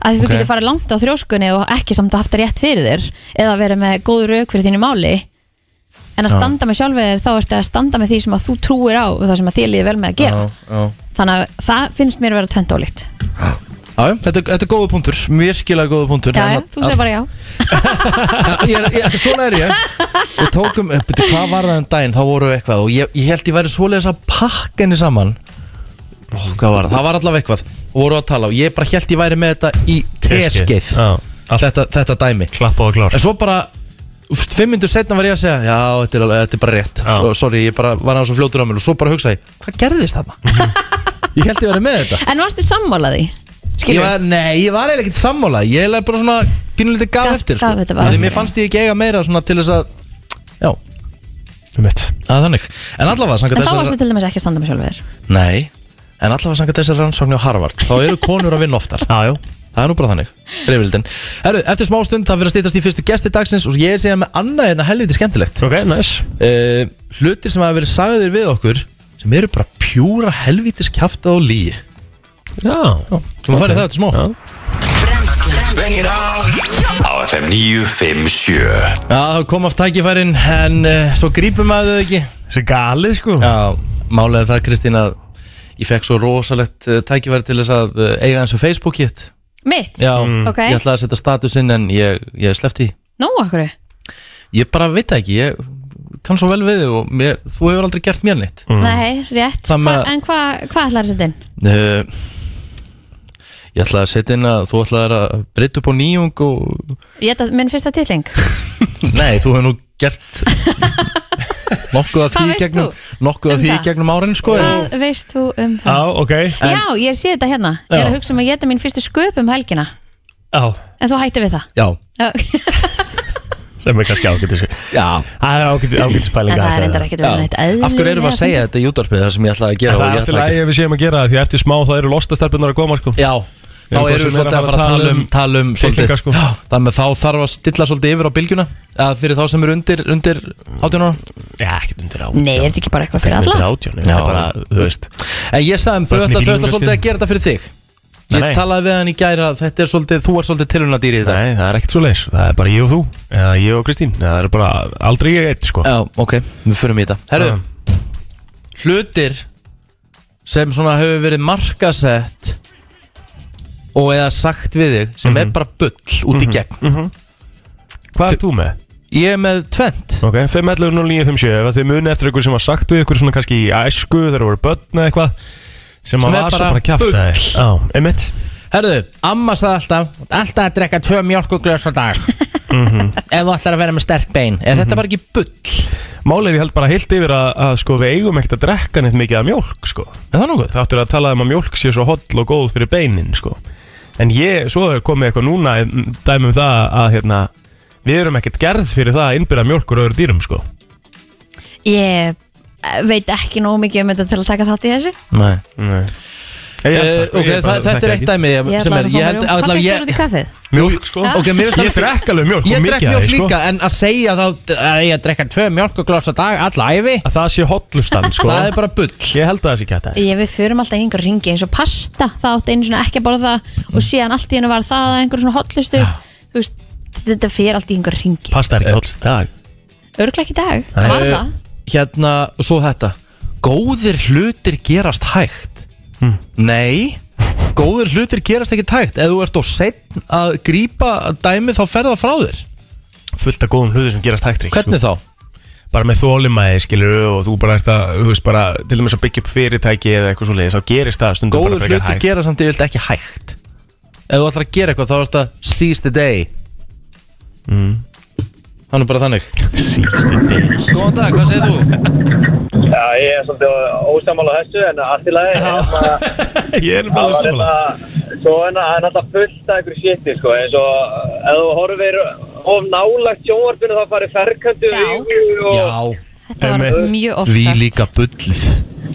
C: að því þú
B: Ok.
C: getur farið langt á þrjóskunni og ekki samt að haft rétt fyrir þér eða verið með góð rauk fyrir þínu máli en að
B: Já.
C: standa með sjálfum þér þá ertu að standa með því sem að þú trúir á og það sem að þér líði vel með að gera
B: Já, já.
C: þannig að það finnst mér að vera tvent ólíkt
B: Já, já, þetta, er- þetta er góðu punktur, virkilega góðu punktur Hérna,
C: Já, já,
B: En að-
C: þú segir bara já
B: Já, ég er, ég, þetta- svona er ég Við tókum, betur hvað var það um daginn Þá voru við eitthvað og ég, ég held ég væri svoleiðis að pakka henni saman Ó, hvað var það, það var allavega eitthvað og voru að tala og ég bara held ég væri með þetta í teskeið
D: Já, allt
B: þetta, þetta dæmi
D: klappa og klár
B: en svo bara, úst, fimm myndur setna var ég að segja já, þetta er, alveg, þetta er bara rétt
D: Já.
B: svo, sorry, ég bara var aðeins og fljótur á mér og svo bara hugsaði, ég, hvað gerðist þarna? ég held ég væri með þetta
C: En varstu sammálaði?
B: Ég var, nei, ég var eiginlega ekkert sammála Ég er bara svona pínulítið gaf,
C: Gaf-
B: eftir sko.
C: gaf þetta bara.
B: Því mér fannst ég ekki eiga meira svona til þess að Já,
D: um mitt
B: að þannig En allavega
C: En
B: sanga
C: þá varstu
B: þessar
C: til dæmis ekki að standa með sjálfur þér
B: Nei, en allavega sanga þessar rannsóknir á Harvard Þá eru konur að vinna oftar
D: Já, já,
B: Það er nú bara þannig, reyfildin Herru, eftir smá stund það fyrir að stýtast í fyrstu gesti dagsins Og ég er síðan með annað en að helviti skemmtilegt
D: ok, næs
B: uh, Hlutir sem hafa verið sagðir við okkur Sem eru bara pjúra helvitis kjaftað og líi
D: Já,
B: Já, þú maður farið það eftir smá
D: Já.
A: Bring it on Á FM 957
B: Já, það kom aft tækifærin en uh, svo grípum að þau ekki
D: þessi galið sko
B: Já, málega það Kristín að ég fekk svo rosalegt uh, tækifæri til þess að uh, eiga eins og Facebook hitt
C: Mitt?
B: Já,
C: Ok.
B: Mm. ég ætlaði að setja statusinn en ég, ég sleppti því
C: Nó, okkur
B: Ég bara veit það ekki, ég kann svo vel við þig og mér, þú hefur aldrei gert mér neitt
D: Mm.
C: Nei, rétt
B: Það með-
C: Hva, En hvað hva ætlar þessi þinn?
B: uh, Ég ætlaði að setja inn að þú ætlaði að breyta upp á nýjung og
C: Rétt að minn fyrsta titling
B: Nei, þú hefur nú gert nokkuð að
C: Hvað
B: því
C: veist
B: gegnum,
C: þú
B: nokkuð
C: um
B: að því
C: það?
B: gegnum árin sko en-
C: Hvað veist þú um það?
D: Já, ok
B: en-
C: Já, ég sé þetta hérna Ég er
B: Já.
C: að hugsa um að geta mín fyrstu sköp um helgina
D: Já,
C: En þú hættir við það
B: Já,
C: Já,
D: sem er kannski ágætis
B: já
D: Það er ágætis, ágætis
C: En
D: pælinga
C: það er endar ekkert verið neitt eðlilega
B: Af hverju erum við að segja þetta í útvarpið það sem ég ætlaði að
D: En
B: gera
D: það er
B: og ég
D: alltaf
B: ætla ekki-
D: lægi ef við séum að gera það Því eftir smá það eru lostastelpunar að koma sko
B: Já, þá
D: Erum við
B: erum við
D: sem
B: svolítið að fara að tala um, tala um svolítið,
D: fylkingar, sko.
B: Já, Þannig að þá þarf að stilla svolítið yfir á bylgjuna eða fyrir þá sem eru undir, undir átjónuna
D: Já, ekkert undir átján
C: Nei, er þetta ekki bara eitthvað fyrir
D: Undir
C: alla?
D: átján, þetta er bara, þú veist
B: En ég sagði um þau
D: Börn í
B: ætla, þau ætla
D: fílingu,
B: svolítið að
D: skilur.
B: gera þetta fyrir þig Ég
D: Nei.
B: talaði við hann í gæra þetta er svolítið, þú ert svolítið tilhunadýri í dag
D: Nei, það er ekkert svo leis Það er bara ég og þú Eða ég og Kristín Það er bara aldrei ég eitt sko
B: Já, ok, við fyrir mig í þetta Herru, hlutir sem svona hefur verið markasett og eða sagt við þig sem
D: Mhm.
B: er bara bull út í gegn
D: Hvað ert þú með?
B: Ég er með tvent
D: Ok, 5.11.09.57 Ef að þið muni eftir ykkur sem var sagt við ykkur svona kannski í æsku Þegar það voru börn eða eitthvað Sem
B: Sem
D: að
B: er
D: var
B: bara
D: svo bara kjæft
B: bull.
D: aðeins Já, einmitt
B: Herðu, amma sagði alltaf
E: Alltaf að drekka tvö mjölkuglöðs á dag ef þú ætlar að vera með sterk bein er þetta bara ekki bull?
D: Málið er ég held bara heilt yfir að, að sko, við eigum ekkert að drekka neitt mikið af mjólk sko.
B: Er það nokkuð?
D: Það áttur að tala um að mjólk sé svo holl og góð fyrir beinin sko. En ég, svo er komið eitthvað núna mm, dæmi um það að hérna, við erum ekkert gerð fyrir það að innbyrða mjólkur öðru dýrum sko.
C: Ég eh, veit ekki nóg mikið um þetta til að taka þátt í þessu
B: Nei
D: Nei. Ég held
B: Uh,
D: það, sko,
B: ok,
D: ég bara
B: það, þetta
D: þekki
B: er
D: ekki.
B: eitt dæmi ég-
C: Ég
B: sem
C: ætla
B: er,
C: að
B: ég
C: fara
B: held
C: um
B: allavega
C: kaffið
B: ég-
C: stór út í kaffið
D: Mjólk sko
B: Ok, mér finnst
D: Ég
B: alveg-
D: drekk alveg mjólk og
B: Ég
D: mikið
B: drekk
D: af
B: mjólk
D: því, sko.
B: líka, en að segja þá að ég að drekka tvö mjólkugloss á dag alla æfi
D: Að það sé hollustan sko.
B: Það er bara bull
D: Ég held að það sé kæta
C: Ég við förum alltaf í einhver ringi eins og pasta það átti einu svona ekki að borða það og síðan allt í hennu var það að einhver svona hotlustu þú veist, þetta fer allt í einhver ringi
D: Pasta er ekki hollstan
C: Örgla ekki í dag, var
B: Eh,
C: það?
B: Hérna, svo þetta Góðir hlutir gerast hægt
D: Hmm.
B: Nei Góðir hlutir gerast ekki hægt Ef þú ert á setn að grípa dæmið þá ferða frá þér
D: Fullt af góðum hluti sem gerast hægt Ríkki, sko.
B: Hvernig þá?
D: bara með þólimæði skilur og þú bara ert að, þú veist bara til dæmis að byggja upp fyrirtæki eða eitthvað svo leiðis þá gerist það stundum
B: Góðir
D: bara frekar
B: hlutir
D: hægt
B: gerast samt yfirleitt ekki hægt Ef þú ætlar að gera eitthvað þá er þetta seize the day
D: Mm.
B: Hann er bara þannig
D: síðustu deg
B: Góðan dag, hvað segir þú?
F: Já, ég er svolítið ósamála þessu en allt í lagi hérna,
D: ég er
F: það
D: bara
F: var
D: sammála
F: hérna svo hérna, það er náttúrulega fullt af einhverju shiti sko, eins og ef þú horfir of nálagt sjónvarpinu þá farið ferkantu
C: Já.
F: augu og,
B: Já,
C: Þetta var
D: Einmitt.
C: mjög oft
B: við
C: sagt
B: líka bullið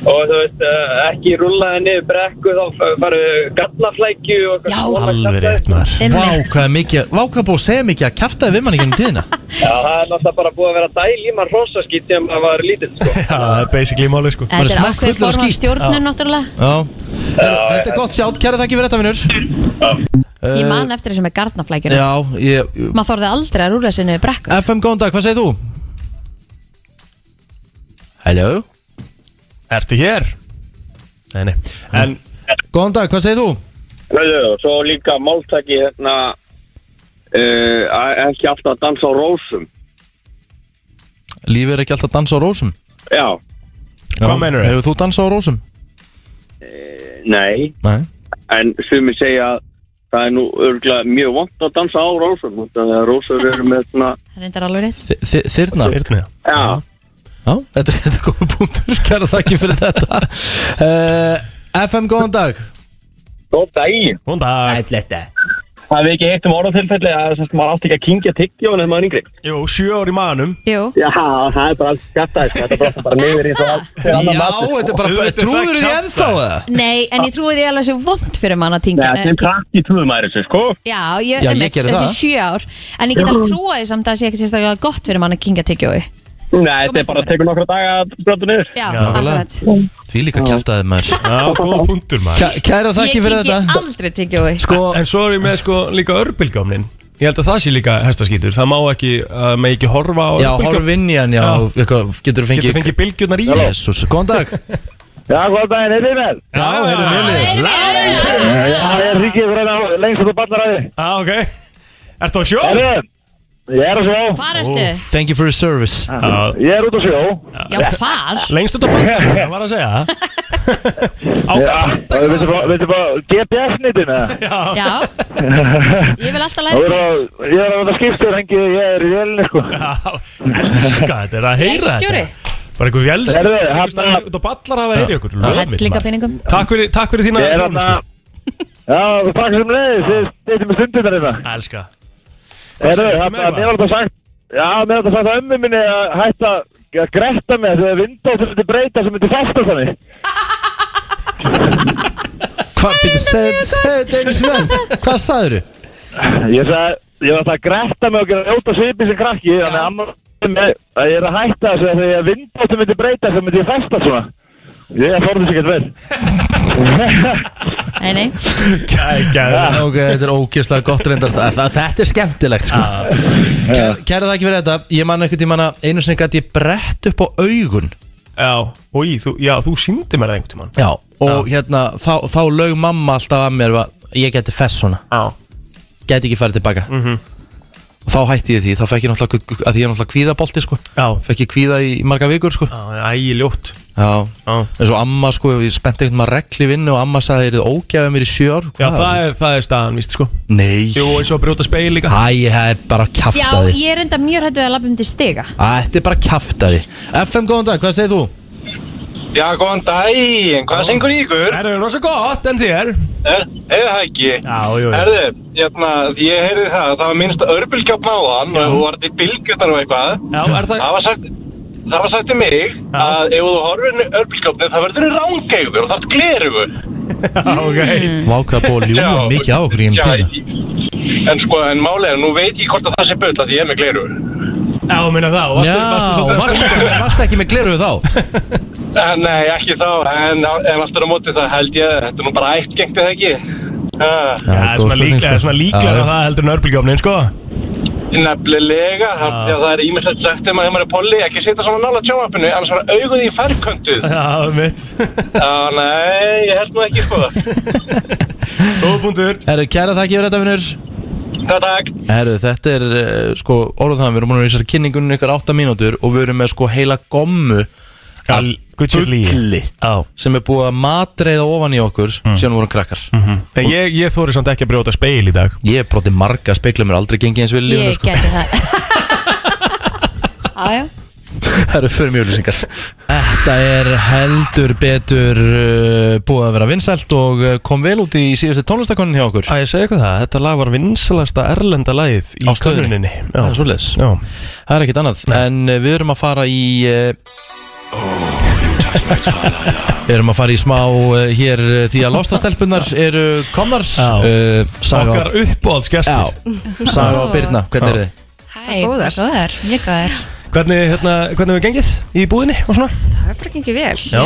F: og þú veist eh, ekki rúllaði niður brekku þá farið gallaflækju og eitthvað
C: Já.
F: svona
D: alveg
F: kjaftaði.
D: rétt maður
B: Vá,
C: Einmitt.
B: hvað er mikið, vá, hvað er búið að segja mikið að kjaftaði við mann í gennum tíðina
F: Já, það er náttúrulega bara búið að vera dæl í mann hrósaskýt sem að var lítill sko.
D: já, það er basically málið sko
B: Maður er
C: Þetta er
B: smekk fullur af
C: ákveðið form af
B: skít.
C: stjórnun náttúrulega
B: Já, er, þetta er gott sjátt, kæra þakki fyrir þetta, vinnur
C: Ég man eftir þessu með garnaflækjunum
B: Já, ég,
C: Maður þorði aldrei að rúla sinni við brekku
B: FM, góðan dag, hvað segir þú? Hello
D: ertu hér? nei, nei en
B: Góðan dag, hvað segir þú?
F: Rauðu, og svo líka máltæki hérna uh, ekki alltaf að dansa á rósum
B: Lífið er ekki alltaf að dansa á rósum
F: Já,
D: Hvað meinarðu?
B: Hefur þú dansa á rósum?
F: Eh, nei
B: Nei
F: en sumir segja að það er nú örgulega mjög vant að dansa á rósum út af því að rósur eru með svona
C: Það reyndar alveg rétt
B: Þi- þi- Þyrna
D: Þyrna.
F: já,
B: Já, þetta þetta er komið punktur Kæra þakki fyrir þetta uh, FM, góðan dag
F: góð daginn
D: góðan dag
E: Ætletta
F: það við ekki heitt um orðatilfelli að sem sagt, maður átti ekki að kingja tyggjóin en maður er yngri
D: jú, sjö ár í manum
C: Jú,
F: já, það er bara alls skatta þetta er bara, bara niður í svo
B: Já, þetta er bara,
D: Auðvitað
B: trúður því
D: kjaftaði.
B: ennþá það?
C: nei, en ég trúi því alveg svo vond fyrir mann að tingja eh, ting-
F: krakki trúðum að þessu sko
C: Já, ég,
B: Já, ég
C: einmitt,
B: geri
C: þessi
B: það.
C: sjö ár En ég get alveg trúa því samt að það sé ekki sérstaklega gott fyrir mann að kinga tyggjói
F: nei,
B: Sko,
C: þetta er bara að
F: tekur nokkra daga að brönda niður
C: Já,
D: nákvæmlega.
C: akkurat
B: Því líka kjæftaði maður
D: já, góða punktur maður
B: Kæ- Kæra þakki fyrir
C: Ég
B: þetta
C: kingi aldrei tyggjói
B: Sko,
D: en svo er ég með sko líka örbylgjómnin ég held að það sé líka hestaskýtur það má ekki, uh, með ekki horfa á
B: já, horf inn í hann, já,
D: Já.
B: eitthvað, getur þú
D: getur
B: fengið
D: fengið bylgjurnar í þess
B: Jésús, góðan dag
F: já, góð daginn, heitir
D: já, heyrðu
F: með
D: mjölið
F: það er ríkið frá lengst út á barnaræði
D: já, ok ertu á sjó?
F: ég er á sjó
C: Hvar ertu?
B: Thank you for your service
D: já,
F: ég er út á sjó
C: Já, hvar?
D: Lengst út á bandinu, það var að segja Á bandinu
F: veistu bara GPS-nitin eða
D: Já,
C: Já Ég vil alltaf læra
F: Ég er
C: neitt.
F: að- ég er að það skipstur hengi, ég er í velinni sko
D: já, elska þetta, er að heyra
C: Vélstjóri.
D: þetta Bara einhver velstjóri,
F: Herðu,
D: einhver
F: hérna-
D: staðar út á ballar hafa að heyra ykkur Löfum við,
C: Hellinga
D: maður.
C: peningum
D: Takk fyrir, takk fyrir þína
F: Ég er hérna-
D: þjónustu.
F: að Já, þú takk sem leiðis, þið steytum með stundir þar hérna
D: Elska Hvað
F: Herðu,
D: segir, ertu
F: þarna,
D: með
F: mér var
D: eitthvað?
F: þetta sagt Já, mér var þetta sagt að ömmu minni að hætta að gretta mig þegar vindóttur myndi breyta sem myndi fasta þannig
B: Hvað, byrju, segðu segðu þetta einu sinni enn. Hvað sagður þú?
F: Ég sagði, ég var þetta að gretta mig og gera ljóta svipi sem krakki Þannig að amma sagði mér að ég er að hætta þessu að þegar vindóttur myndi breyta sem myndi ég fasta svona Ég þorði sér ekkert vel
C: Nei, nei
D: Geggjaður.
B: Ok, þetta er ógeðslega gott reyndar það, það, Þetta er skemmtilegt sko.
D: Ah.
B: Kæra, kæra þakki fyrir þetta Ég man einhvern tímann að einu sinni gæti ég brett upp á augun
D: Já, og þú, já, þú síndi mér það einhvern tímann
B: Já, og hérna þá, þá lög mamma alltaf að mér að ég geti fess svona
D: Já, Mhm.
B: Gæti ekki farið tilbaka mm -hmm. Og þá hætti ég því, þá fekk ég náttúrulega að því ég er náttúrulega kvíðabolti sko
D: já,
B: Fekk ég kvíða í marga vikur sko
D: já ægi ljótt
B: Já,
D: Já.
B: eins og amma sko, ég spennti einhvern maður regli vinnu og amma sagði að það er ógæðið mér í sjö ár
D: Já, það er, það er staðan, víst, sko
B: Nei,
D: Jú, eins og að brjóta speil líka
B: Æ, það er bara
C: Já,
B: kjaftaði
C: ég er enda mjög hættu að lappa um til stiga
B: Æ, Þetta er bara kjaftaði FM, góðan dag, hvað segir þú?
G: Já, góðan daginn, hvað syngur í ykkur?
D: Það er rosa gott en þér
G: Er er það ekki?
D: Já, jú, jú.
G: Herðu, hérna, ég heyrði það, það var minnst örbulgjátt náðan og þú vart í bylgjötar og eitthvað.
D: Já, er það
G: Það var sagt, það var sagt til mig að ef þú horfir örbulgjáttni það verður rángeigur og það er glerugu.
D: Já, ok
B: Vákaða búið að ljúga mikið á okkur í um tíðina
G: tíma. En sko, en málega, nú veit ég hvort að það sé bull að ég er með glerugu.
D: Já, minna það, og
B: Já,
D: varstu, varstu svolítið að
B: varstu
D: stinga
B: ekki,
D: með-
B: varstu ekki með gleruðu þá?
G: Eh, Nei, ekki þá, en, en aftur á móti það held ég, þetta er nú bara ætt gengt eða ekki. Uh.
D: Já, það er svona
B: góð spurning,
D: líklega,
B: sko.
D: svona
B: Já,
D: líklega
B: já.
D: að það heldur en örbulgjófnin, sko
G: Nefnilega, það,
D: Já.
G: já, það er ímestlegt sagt um að þeim eru polli, ekki sitja svona nála tjónvarpinu, annars var auguð í færköntu.
D: Já, mitt
G: Já, nei, ég held nú ekki sko.
D: Góð punktur
B: Herru, kæra þakki fyrir þetta, vinnur
G: Takk, takk.
B: Herru, þetta er, eh, sko, orðað það Við erum búin að vera í þessari kynningunni ykkur átta mínútur og við erum með, sko, heila gommu af
D: Al- gullið lygi.
B: bulli
D: Já Mm.
B: sem er búið að matreiða ofan í okkur síðan við vorum krakkar
D: Mhm. En ég, ég þóri samt ekki að brjóta speil í dag
B: Ég hef brotið marga speikla mér aldrei gengið eins vel í lífinu
C: Ég
B: sko.
C: geti það Já, já
B: Það eru fyrir mjög lýsingar Þetta er heldur betur uh, búið að vera vinsælt og uh, kom vel út í síðustu tónlistakonin hjá okkur
D: Að ég segi eitthvað það, þetta lag var vinsalasta erlenda lagið í
B: Á stöðinni.
D: könnuninni
B: Það er svoleiðis.
D: Já
B: Það er ekkert annað En uh, við erum að fara í uh,
D: Oh,
B: Við erum að fara í smá uh, hér uh, því að lostastelpunar eru komnar
D: Já.
B: uh, Saga
D: Okkar uppáhaldsgestur
B: Já, Saga og Birna, hvernig er þið?
H: Hei, góðar. góðar, mjög góðar
D: Hvernig, hérna, hvernig við gengið í búðinni og svona?
I: Það er bara gengið vel
H: Já,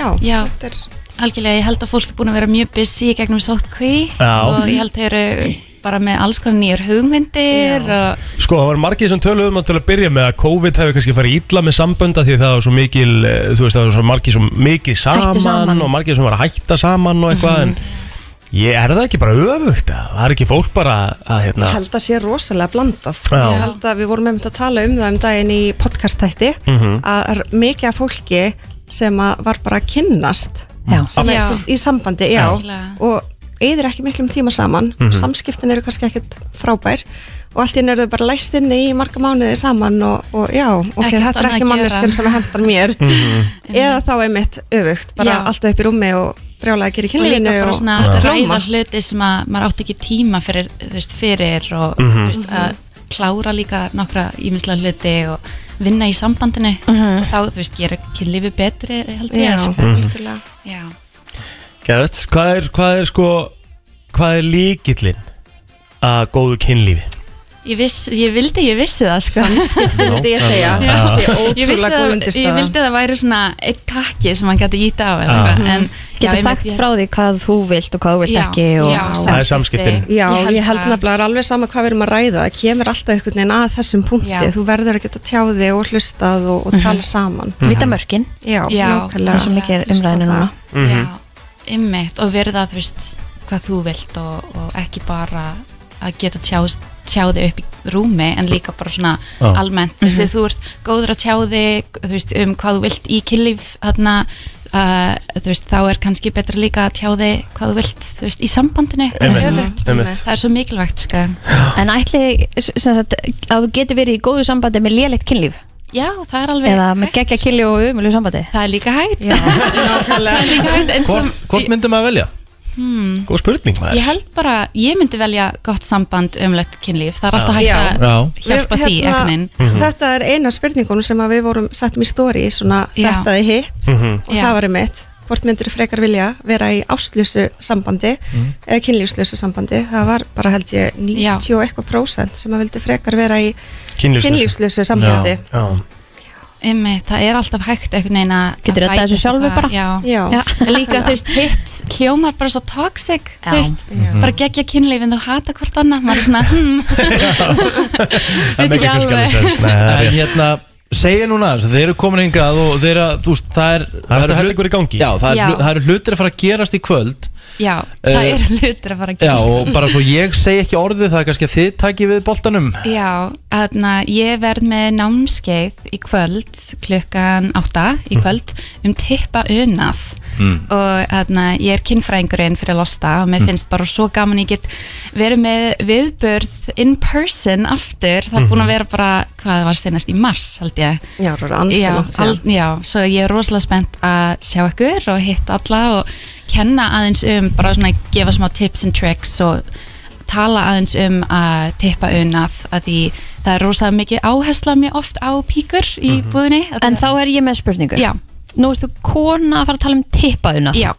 I: Já,
H: Já.
I: þetta er
H: algjörlega, ég held að fólk er búin að vera mjög busy í gegnum sótkví
D: Já.
H: og ég held að þau eru bara með alls konar nýjar hugmyndir og
D: Sko, það var margir sem töluðu um að til að byrja með að COVID hefur kannski farið illa með sambönda því það var svo mikil, eh, þú veist, það var svo margir svo mikið saman,
C: Hættu saman.
D: og margir sem var að hætta saman og eitthvað en ég er það ekki bara öfugt að það er ekki fólk bara að, hérna,
I: Ég held að sé rosalega blandað
D: Já.
I: Ég held að við vorum einmitt að tala um það um daginn í podcastætti að er mikið af fólki sem að var bara að kynnast
C: Já.
I: sem er
H: Já.
I: sérst í sambandi, já
H: Algjörlega.
I: og eyðir ekki miklum tíma saman samskiptin eru kannski ekkert frábær og allt í enn eru þau bara læst inni í marga mánuði saman og, og já, ok,
H: Ekkert
I: þetta er
H: annað
I: ekki
H: að gera. Mhm.
I: manneskinn sem hendar mér eða þá einmitt öfugt, bara
H: Já.
I: allt upp í rúmi og brjálega að gera í
H: og líka
I: kynlífinu
H: bara
I: og
H: svona
I: allt
H: að
I: blóma.
H: ræða hluti sem að maður átti ekki tíma fyrir, þú veist, fyrir og þú veist, að klára líka nokkra ímyndlega hluti og vinna í sambandinu og þá, þú veist, gera kynlífi betri, held
I: Mhm.
H: ég
I: Já, Mhm.
H: sko.
I: algjörlega
H: Já.
D: Geðvett, hvað er, hvað er sko, hvað er líkillinn að góðu kynlífi?
H: Ég, viss, ég vildi, ég vissi það sko.
I: samskipti myndi ég segja
H: Já.
I: það sé
H: ég, vissi
I: ótrúlega góð
H: það, ég
I: undirstaða
H: vildi að það væri svona eitt takki sem hann gæti íta á eða
D: Já.
H: eitthvað, en- Já,
C: Geta
H: ég
C: Mhm. sagt
H: myndi-
C: frá því hvað þú vilt og hvað þú vilt ekki og
H: já,
D: Það er samskiptin.
I: Já, ég held nefnilega að alveg sama hvað við erum að ræða það kemur alltaf einhvern veginn að þessum punkti
H: Já.
I: þú verður að geta tjáði og hlustað og, og tala saman
C: Mhm. Vita mörkin,
I: Já,
H: Já.
I: nákvæmlega
C: það er svo mikið hérna.
I: Hlusta
C: umræðinu
I: á það.
C: núna
H: Já, ymmit og verða þú veist hvað þú vilt og, og ekki bara að geta tjáð tjáði upp í rúmi en líka bara svona
D: Ah.
B: Já.
H: almennt, þú
C: Mhm.
H: veist, þú ert góður að tjáði þú veist, um hvað þú vilt í kynlíf þarna, uh, þú veist, þá er kannski betra líka að tjáði hvað þú vilt, þú veist, í sambandinu
D: Einmitt, einmitt.
H: það er svo mikilvægt, sko
C: En ætli s- sem sagt, að þú getur verið í góðu sambandi með léleitt kynlíf
H: já, það er alveg
C: eða með
H: hægt,
C: geggja
H: sko.
C: kynlíf og umjölu sambandi
H: það er líka hægt það er líka hægt en
B: Hvort,
H: sem-
B: hvort myndum maður velja?
D: Góð spurning maður
H: Hmm. Ég held bara, ég myndi velja gott samband umlegt kynlíf, það er
I: Já.
H: alltaf hægt
B: Já.
H: að hjálpa
I: Við-
H: því
I: hérna,
H: egnin
I: Þetta er eina af spurningunum sem að við vorum settum í stóri, svona
H: Já.
I: þetta er hitt og
H: Já.
I: það var einmitt hvort myndur frekar vilja vera í ástljösu sambandi eða kynlífsljösu sambandi það var bara held ég 90 og eitthvað prósent sem að vildu frekar vera í
D: Kynlífslausu.
I: kynlífsljösu sambandi
D: Já,
H: Ymmi, það er alltaf hægt einhvern veginn að
C: Getur
H: að
C: reddað
H: bæta
C: þessu sjálfur
H: það,
C: bara.
H: Já,
I: Já.
C: Já.
H: En líka þú veist, hitt hljómar bara svo toxic,
C: Já.
H: þú veist
B: Mhm.
H: bara geggja kynlífin, þú hata hvort annað maður er svona, hmm
D: það
H: Veit
D: make
H: ekki
D: ekki
H: alveg.
D: sens Nei, það er
B: En
D: rétt.
B: hérna, segja núna aðeins, þeir eru komin hingað og þeir eru, þú veist, það
D: Það er
B: er eru
D: þetta
B: hlut-
D: hellingur í gangi.
B: Já, það
H: Já.
B: eru er hlutir að fara að gerast í kvöld
H: Já, það
B: Eh,
H: eru hlutir að fara að
B: Já,
H: gerast.
B: og bara svo ég segi ekki orðið það er kannski að þið takki við boltanum
H: Já, þarna ég verð með námskeið í kvöld klukkan 8
B: Mhm.
H: í kvöld um tippa unað
J: Mm.
H: og þarna ég er kinnfræðingurinn fyrir losta og mér
J: Mm.
H: finnst bara svo gaman ég get verið með viðbörð in person aftur, það er búin að vera bara hvað það var senast í mars held ég
I: Já, það var ansi
H: já,
I: langt síðan.
H: al- já, svo ég er rosalega spennt að sjá ykkur og hitta alla og kenna aðeins um bara svona að gefa smá tips and tricks og tala aðeins um að tippa unnað að því það er rosalega mikið áhersla mér oft á píkur í
C: Mhm.
H: búðinni
C: En þá er ég með spurningu
H: Já.
C: Nú ert þú kona að fara að tala um tippauna
H: Já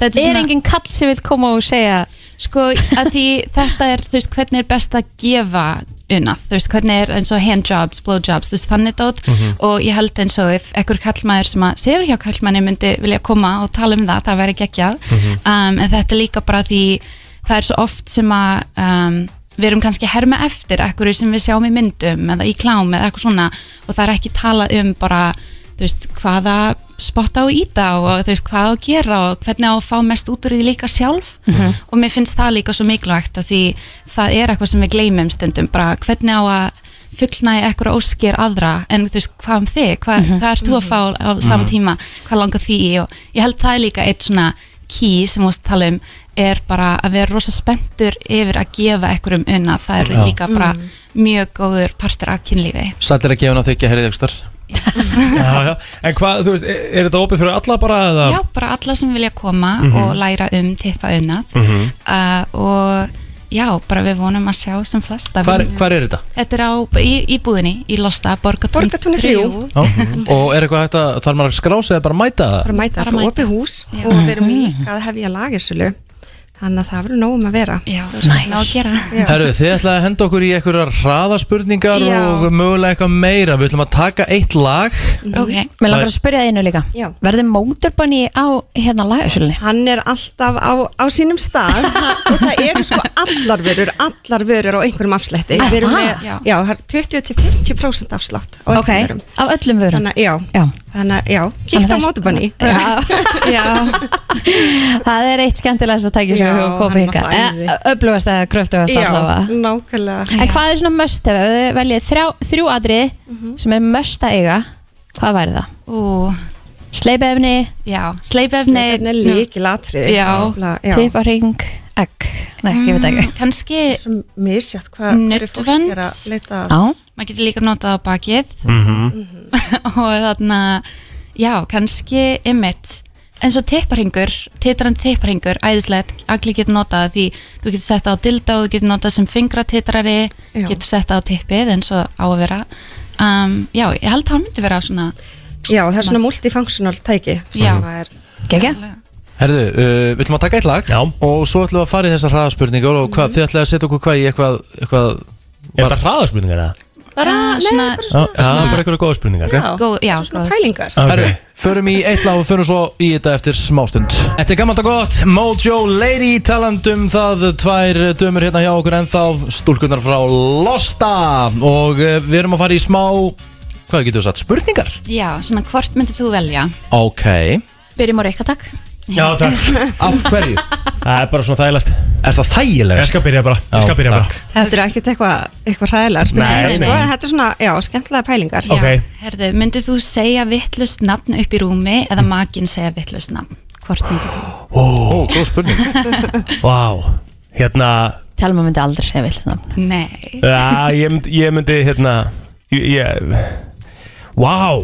C: Er,
H: Þetta svona-
C: engin kall sem vil koma og segja
H: Sko, að því þetta er, þú veist, hvernig er best að gefa unnað, þú veist, hvernig er eins og handjobs, blowjobs, þú veist, þannig dót
J: Mhm.
H: og ég held eins og ef ekkur kallmaður sem að sefur hjá kallmanni myndi vilja koma og tala um það, það væri geggjað
J: Mhm.
H: um, en þetta er líka bara því það er svo oft sem að um, við erum kannski að herma eftir ekkur sem við sjáum í myndum eða í klám eða eitthvað svona og það er ekki talað um bara þú veist, hvaða spotta á að íta og þú veist, hvað á að gera og hvernig á að fá mest út úr því líka sjálf
J: Mhm.
H: og mér finnst það líka svo mikilvægt að því það er eitthvað sem við gleymum stundum bara hvernig á að fullnæja eitthvað óskir aðra en þú veist hvað um þig, hvað,
J: Mhm.
H: hvað ert þú að fá á sama
J: Mhm.
H: tíma, hérna, hvað langar því í og ég held það er líka eitt svona key sem við ást að tala um er bara að vera rosa spenntur yfir að gefa eitthvað um unna, það er
B: Já.
H: líka bara
I: Mm.
H: mjög góður partur af kynlífi
B: Sættir að gefa hann að þykja herrið ekstar
D: já, já. En hvað, þú veist, er, er þetta opið fyrir alla bara eða?
H: Já, bara alla sem vilja koma
D: Mhm.
H: og læra um tippa unnað
D: Mhm.
H: uh, og já, bara við vonum að sjá sem flesta
B: Hvar, hvar er þetta?
H: Þetta er á, í, í búðinni, í Losta, Borgatún,
I: Borgatúni þrjú.
B: Já. Og er eitthvað hægt að þarf maður að skrá sig eða bara mæta það?
I: bara mæta
H: Bara
I: bara
H: mæta.
I: opið hús
H: Já. Mhm.
I: og við erum líka að hefja lagersölu þannig að það verður nóg um að vera
H: Já,
I: Þú veist,
H: ná að gera
I: Já.
B: Herru, þið ætlaði að henda okkur í einhverjar hraðaspurningar
C: Já.
B: og mögulega eitthvað meira Við ætlum að taka eitt lag
H: okay.
C: Mér langar að spyrja það einu líka
I: Mhm. Já.
C: Verður mótorbanni á hérna lagasölunni?
I: Hann er alltaf á, á sínum stað og það eru sko allar vörur, allar vörur á einhverjum afslætti.
C: Er
I: Við erum
C: það?
I: með,
C: Já.
I: já, það er 20-50% afslátt á öllum
C: Ok,
I: vörum.
C: af öllum vörum
I: Þannig að, já,
C: já.
I: þannig að, já,
C: Þannig
I: kíkta
C: að
I: á
C: þess-
I: mótubanni.
C: Já. Það er eitt skemmtilegast að tækja sem
I: Já,
C: við
I: hann
C: höfum komið
I: var það æði.
C: hingað Eh, Öflugast eða kröftugast
I: Já,
C: allavega
I: nákvæmlega.
C: En hvað er svona möst ef þið veljið þrjá, þrjú atrið
H: Mhm.
C: sem er möst að eiga hvað væri það?
H: Ú.
C: Sleipefni,
H: Já, sleipefni
I: Sleipefni er lykilatriði.
H: Já, Mm.
I: Nefnilega, já.
C: tipparing, egg Nei, ég veit ekki
H: Kanski
I: Misjátt hvað hverju fólk
H: Nuddvönd.
I: er að leita að.
C: Já.
H: Maður getur líka notað á bakið
I: Mm-hmm.
D: Mhm.
H: og þarna já, kannski ymmit eins og tipparhingur, titrandi tipparhingur æðislegt, allir getur notað því þú getur sett það á dildó, þú getur notað sem fingratitrari,
I: Já.
H: getur sett það á tippið eins og á að vera um, Já, ég held það myndi vera svona
I: Já, það er svona
H: Must.
I: multifunctional tæki
H: Já.
I: sem það er.
C: Gekja?
B: Herðu, uh, við ætlum að taka eitt lag Já. Og svo ætlum við að fara í þessar hraðaspurningar Og hvað, þið ætlaði að setja okkur hvað í eitthvað, eitthvað Er þetta
D: hraðaspurningar eða?
I: Bara,
C: Eh,
H: svona,
D: Já, það er bara einhverja góða spurningar
H: góð, já, góð
I: pælingar
B: Herru, förum í eitt lag og förum svo í þetta eftir smástund Þetta er gammalt og gott, Mojo Lady talandum það tvær dömur hérna hjá okkur ennþá stúlkunar frá Losta og eh, við erum að fara í smá, hvað getur við sagt, spurningar?
H: Já, svona hvort myndir þú velja?
B: Ok
C: Byrjum á reyka, takk
D: Já, takk
B: Af hverju?
D: Það er bara svona þægilegast
B: Er það þægilegast?
D: Ég skal byrja bara Ég skal byrja bara
I: Þetta er ekkert eitthvað eitthva ræðilega
D: Nei, nei.
I: Þetta er svona, Ah, já, skemmtilega pælingar
H: Já, herðu, myndir þú segja vittlust nafn upp í rúmi eða makinn segja vittlust nafn? Hvort myndir þú?
D: Ó, góð spurning Vá, hérna
C: Telma myndi aldrei segja vill nafn
H: Nei
D: Já, ég myndi, ég myndi hérna Ég, ég Vá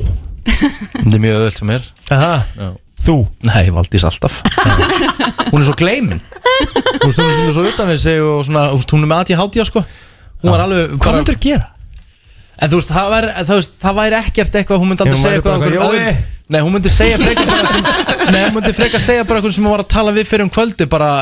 B: Þetta er mjög öðvöld sem er
D: Aha, þú?
B: Nei, Valdís alltaf Hún er svo gleimin Þú veist, hún er stundum svo utan við sig og svona, þú veist, hún er með aðtíð hátíða sko Hún var alveg bara
D: Hvað myndur gera?
B: En þú veist, það væri, það veist, það væri ekkert eitthvað Hún myndi aldrei
D: Hún væri
B: segja
D: bara
B: eitthvað okkur
D: eitthvað,
B: öðrum Nei, hún myndi segja frekar bara sem, Nei, hún myndi frekar segja bara eitthvað sem hún var að tala við fyrir um kvöldi Bara,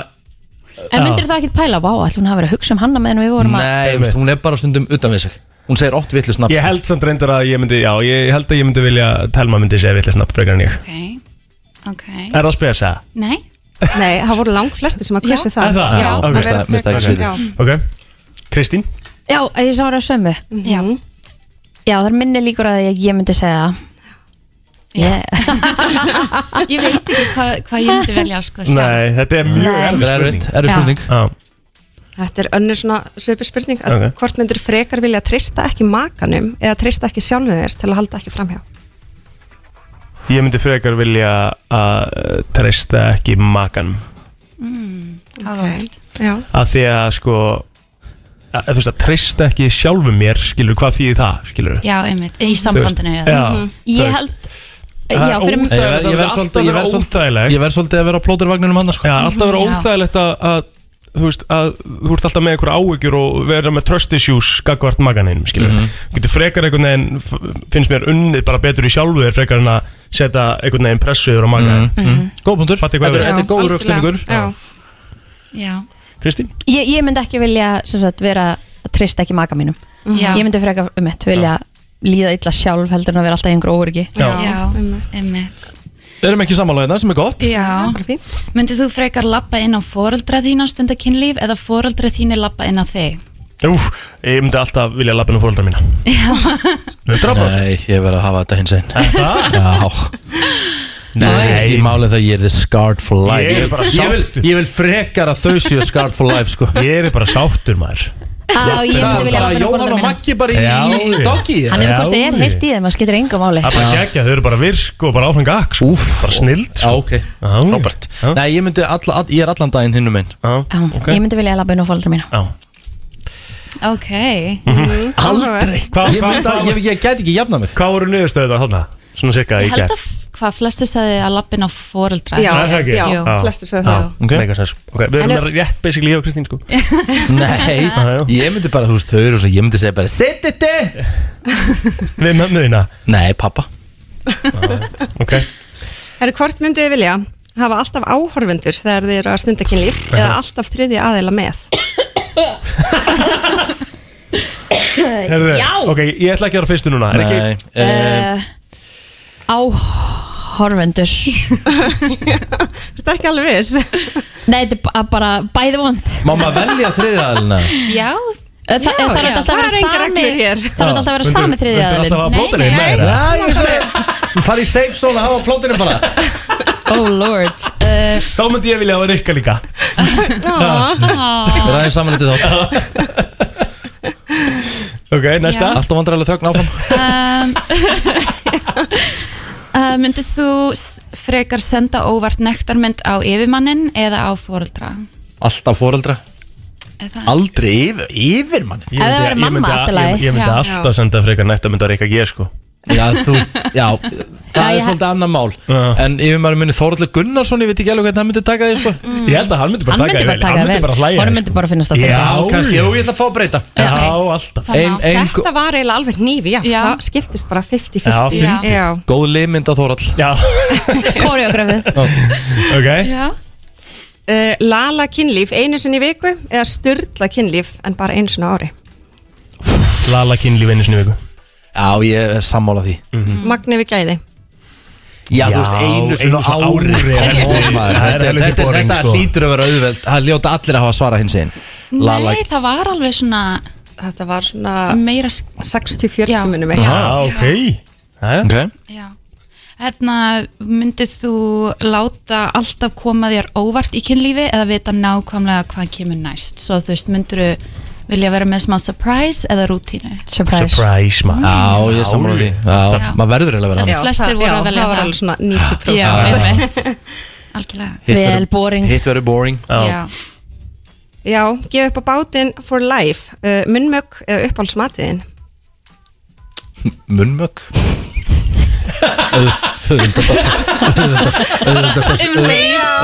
C: En myndir þú ekki pæla, vá, ætlum hún hafa verið að hugsa um hanna meðan við vorum að
B: nei, þú veist, hún er bara stundum utan við sig Hún segir oft vitlis nafn sko.
D: Ég held samt reyndar að ég myndi Já, ég held að ég myndi vilja Telma myndi segja vilja snabb frekar en ég
H: Ok, ok
D: Er það að spyrja þess að?
H: Nei,
I: Nei, það voru langt flesti sem að kvissi það
D: Er það?
I: Já,
D: ok.
I: það verður
D: Mista-
I: frekar-
D: mista ekki
I: já.
D: sviðið. Ok, Kristín
C: Já, ég
H: Mhm.
C: sem var að sömu
I: Já,
C: Já, það er minni líkur að ég, ég myndi segja það yeah.
H: ég veit ekki hvað hva ég myndi velja sko, sjálf.
D: Nei, þetta er mjög
I: Nei.
D: erfið
B: Það er erfitt,
H: Já.
D: spurning
B: erfið spurning
D: Já,
I: Þetta er önnur svona söpu spurning að
D: Ok.
I: hvort myndur frekar vilja treysta ekki makanum eða treysta ekki sjálfum þér til að halda ekki framhjá
D: Ég myndi frekar vilja að treysta ekki makan
H: Mm, Áhugavert.
I: Já,
D: að því að sko að, þú veist að treysta ekki sjálfu mér skilur hvað þýðir það skilur
H: já, einmitt, í sambandinu eða- Mhm.
D: já,
C: Ég held
D: það er
C: Já, fyrir
D: óþægilegt
B: Ég verð- ég verð
D: það er alltaf
B: svolítið-
D: að
B: ég
D: vera
B: verð svolítið-
D: óþægilegt
B: Ég verð svolítið að vera á plótervagninum annars sko
D: Já, alltaf að vera
H: Já.
D: óþægilegt að, að þú veist að þú ert alltaf með einhverja áhyggjur og vera með trust issues gagvart maganinn, skilur
B: Mhm.
D: mm getur frekar einhvern veginn, f- finnst mér unnið bara betur í sjálfu þér frekar en að setja einhvern veginn pressu yfir á maganinn
B: Mhm. Góð punktur,
D: Fatti,
B: þetta
D: hvað
B: er,
D: er-
B: þetta er góður raukstunningur
I: Já,
H: já,
D: Kristín?
C: Ég, ég myndi ekki vilja sem sagt, vera að treysta ekki maka mínum
I: Mhm.
H: já,
C: Ég myndi frekar um eitt vilja líða illa sjálf heldur en að vera alltaf í einhverju óöryggi
D: Já.
H: já,
I: einmitt.
H: einmitt
B: Erum ekki samanlega það sem er gott
H: já,
I: bara fínt
H: myndið þú frekar lappa inn á foreldra þína stunda kynlíf eða foreldra þíni lappa inn á þig
D: Úf, ég myndi alltaf vilja lappinu fóröldra mína Já Drapa
B: Nei, ég verð að hafa þetta hins einn
D: það?
B: Já Nei, ég málið það ég er the scarred for life
D: Ég er bara
B: ég vil,
D: sáttur.
B: ég vil frekar að þau séu scarred for life sko
D: Ég er bara sáttur maður
C: Á, ég myndi vilja
B: bara
C: láta
B: Jóhann og
C: fóröldra mína
B: Maggi bara í,
D: Já,
B: í, í
D: ég.
B: doggi
C: Hann hefur
D: Já,
C: hvort þið er
D: ég.
C: heilt í þeim, það skiptir engu máli
D: Það er bara geggja, þau eru bara virk og bara áfram gakk sko.
B: Úff.
D: Bara snild
B: Já, ok,
D: Já, já.
B: frábært
D: Já.
B: Nei, ég myndi, alla, all, ég er allan daginn hinnum einn
C: Já,
D: ok.
C: Ég myndi vilja labba inn á fólkdra mína
D: Já
H: ok,
D: Mhm.
B: Aldrei
D: Hvað-
B: Ég,
D: hvað-
B: myndi,
D: hvað-
B: ég, ég gæti ekki jafna mig
D: Hvað voru niðurstöðu það þarna? Svona cirka í
H: ég held
D: gegn
H: að f- hvað flestu sagði að lappa inn á foreldra
I: Já,
D: er það ekki?
I: já,
H: Jú.
I: flestir sögðu
D: Já,
I: það
B: Ok.
D: mega sens Ok, við erum
C: En-
D: með rétt basically ég og Kristín sko
B: Nei,
D: Já, já.
B: ég myndi bara, þú veist, þau eru svo Ég myndi segja bara, seti þetta
D: Við mömmu þína
B: Nei, pappa
D: Ok
I: Er hvort myndið þið vilja hafa alltaf áhorfendur þegar þið eru að stunda kynlíf eða alltaf þriðja aðeila með
D: Herðu, Já Ok, ég ætla ekki að vera fyrstu núna Er ekki
B: Nei, eh,
C: uh, Áhorfendur
I: Þetta er ekki alveg viss
C: Nei, þetta er ba- bara bæði vond
B: Má maður velja þriðaðalina
H: já,
C: Þa, það þarf
I: já.
C: alltaf
I: Það
C: að vera
I: er engar
C: sami
I: reglur hér.
C: Það þarf alltaf að vera sami þriðja
D: Þú
C: aðilinn
D: ætla að
H: Nei,
D: bróta þig
H: nei.
D: með það
B: Já, ég sagði Farið í safe zone að hafa plótinu bara
C: Oh lord uh,
D: Þá myndi ég vilja hafa rikka líka
B: Ræðin saman litið þátt
D: Ok, næsta
B: Alltaf vandrarlega þögn áfram
H: um, uh, myndið þú s- frekar senda óvart nektarmynd á yfirmannin eða á foreldra
B: Alltaf foreldra
H: eða,
B: Aldrei yfir, yfir manni
D: Ég
C: Ef það væri
D: myndi- ég
C: mamma,
D: myndi-
C: allt í lagi.
D: Ég ég myndi
H: Já.
D: alltaf senda frekar nætt að mynda rikka ég sko
B: Já, þú veist, já Það
C: Já,
B: er
C: ég-
B: svolítið annað mál
D: Já.
B: En yfir maður minni Þóraldur Gunnarsson Ég veit ekki alveg hvernig hann myndi taka því, sko
D: Mm. Ég held að hann myndi
C: Hann
D: bara taka
C: myndi
D: því
C: bara
D: vel.
C: taka
D: Hann myndi
C: vel
D: bara hlæja
C: Honum
D: sko.
C: myndi bara finnast það
D: Já.
C: fyrir
B: Já, kannski,
D: já.
B: jú, ég ætla að fá að breyta
D: Já,
H: Já, ok.
D: alltaf
H: Það
B: Ein,
H: má-
B: ein,
I: Þetta var eiginlega alveg nýfi, já,
H: Já.
I: það skiptist bara 50-50
D: Já, fyndið.
I: Já.
B: góð liðmynd að Þórald
D: Já,
C: Koreografið
D: ok
H: já,
I: Uh, lala kynlíf einu sinni í viku eða styrla kynlíf en bara einu sinni á ári
H: Mm.
D: Lala kynlíf einu sinni í viku Mhm.
B: Já, ég er sammála því
I: Magni við gæði
B: Já,
D: Já,
B: þú veist, einu svona
D: einu svona
B: ári
D: ári.
B: Come
D: Þetta
B: on,
D: er-
B: maður.
D: það er
B: Þetta
D: helviti
B: þetta-
D: boring,
B: þetta
D: sko.
B: hlýtur að vera auðveld Það ljóta allir að hafa svarað hins einn Lala
H: nei, það var alveg svona
I: Þetta var svona
H: meira sk-
I: 60-40
H: Já.
I: munum
D: Já,
I: við
D: Ah, ok Jæja.
B: okay.
H: Já, hérna myndið þú láta alltaf koma þér óvart í kynlífi eða vita nákvæmlega hvað kemur næst svo þú veist, myndur þú vilja vera með smá surprise eða rútínu
C: Surprise
D: Surprise maður
B: Já, ég er sammála því Já,
H: Já.
B: maður verður eiginlega að vera hann
H: Já. Flestir voru
I: það-
H: að velja
I: það var
H: það.
I: alveg svona 90%
H: Já,
B: Já.
H: einmitt Algjörlega
B: Hitt
C: Vel
B: verður-
C: boring.
B: Hitt verður boring
H: Já,
I: Já, gef upp á bátinn for life uh, Munnmögg eða uppáhaldsmatiðin
B: Munnmök Öðvöldast
H: Um leið.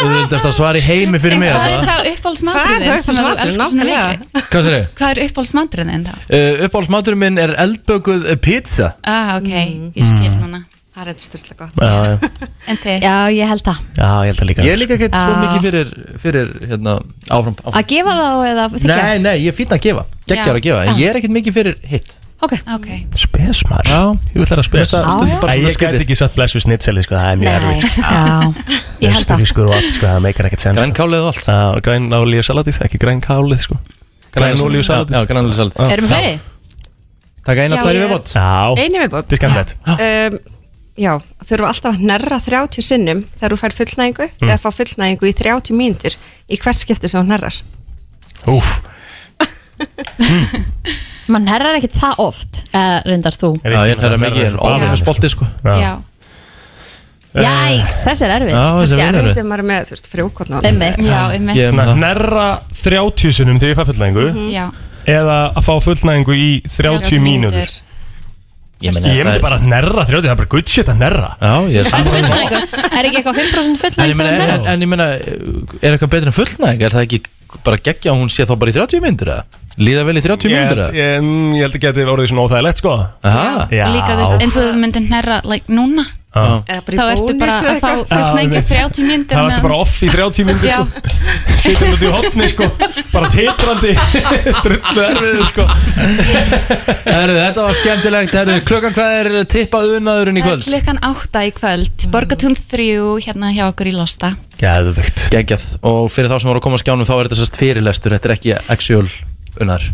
B: Öðvöldast að svara í heimi fyrir mig
H: Hvað er
B: eða?
H: þá
I: Hvað er
H: uppáhaldsmaturinn
I: það
H: sem þú
I: uppáhaldsmaturinn?
H: elskar svona
I: Nákvæmlega.
H: mikið?
B: Hvað sér þau?
H: Hvað er uppáhaldsmaturinn þinn þá?
B: Uppáhaldsmaturinn minn er eldbökuð pizza
H: Ah, ok,
I: Mm.
H: ég skil hana
I: Það er þetta styrla gott
D: Já, já.
H: En þið?
C: Já, ég held það
D: já, ég held að líka
B: Ég er líka gett svo
C: Já.
B: mikið fyrir, fyrir hérna, áfram, áfram.
C: Að gefa það á eða þykja
B: Nei, nei, ég er fínn að gefa Gekkjar
H: Já.
B: að gefa, en ég er ekkert mikið fyrir hitt
C: Ok
H: Ok,
D: Spes maður
B: Já.
D: Ég vil það að spes
B: Mér finnst það stundum bara
D: Æ,
B: svona
D: Ég gæti
B: skrítið.
D: ekki satt bless við snitseli sko, Það er mjög
C: Nei,
D: erfitt
C: já, ég held það
D: Östurískur og allt sko, Það meikar ekkert sens sko.
B: Grænkálið og allt
D: Já, Græn álíu salatið Ekki græn kálið sko Græn
B: Grænolíu-
D: ólíu salatið
B: Ah. Já, grænolíu salatið
C: Erum fleiri?
B: Takk eina
I: Já,
B: tværi
I: ég-
B: viðbót
D: Já,
I: Einni við bótt
D: þetta er skemmtilegt
I: um, já, þurfa alltaf að nærra 30 sinnum þegar þú fær fullnæðingu
D: Mm.
I: eða fá fullnæðingu í 30 mínútur í hvert skipti sem þú nærrar
D: Úf,
C: Man herrar ekki það oft uh, Rindar þú
B: Já, ég herra mikið en ofnum spolti sko
C: Já. Jæks, þessi er erfið
B: Eh, Já, þessi
I: er
B: er
I: erfitt
B: vinur
I: ef maður er með, þú veist, frjókotna
C: Einmitt. Já, einmitt. Mhm.
B: Ég er með það.
D: Nerra 30 sinnum þegar ég fæ fullnæðingu
I: Mhm.
H: Já,
D: Eða að fá fullnæðingu í 30 mínútur
B: Ég
D: Ég
B: meina, þetta
D: myndi
B: er-
D: bara að nerra 30, það er bara good shit að nerra
B: Já, ég er saman
C: Fullnægu, er ekki eitthvað 5%
B: En ég
C: fullnægu
B: meina,
C: þegar
B: en,
C: nærrar?
B: en ég meina, er eitthvað betur en fullnæg? Er það ekki bara geggja að hún sé þá bara í 30 myndur eða? Líða vel í 30
D: Ég
B: myndur
D: held-
B: eða?
D: Ég ég held ekki að þetta voru svona óþægilegt sko
B: Aha,
D: Já.
H: og líka þú veist, eins og þú myndir nærra like, núna,
D: Já.
H: þá ertu bara að fá fullnægja 30 myndir
D: Það varstu bara off í 30 myndur
H: Já,
D: sko Sittum út í hotni sko Bara titrandi Drullu erfiður sko
B: Herðu, þetta var skemmtilegt, herðu, klukkan hvað er tippað unnaðurinn í
H: það er
B: kvöld?
H: klukkan átta í
I: Mm.
H: kvöld Borgatún 3 hérna hjá okkur í Losta
D: Gæðvögt
B: Geggjað, og fyrir þá sem voru að koma á skjánum þá er þetta sérst fyrirlestur, þetta er ekki actual unnar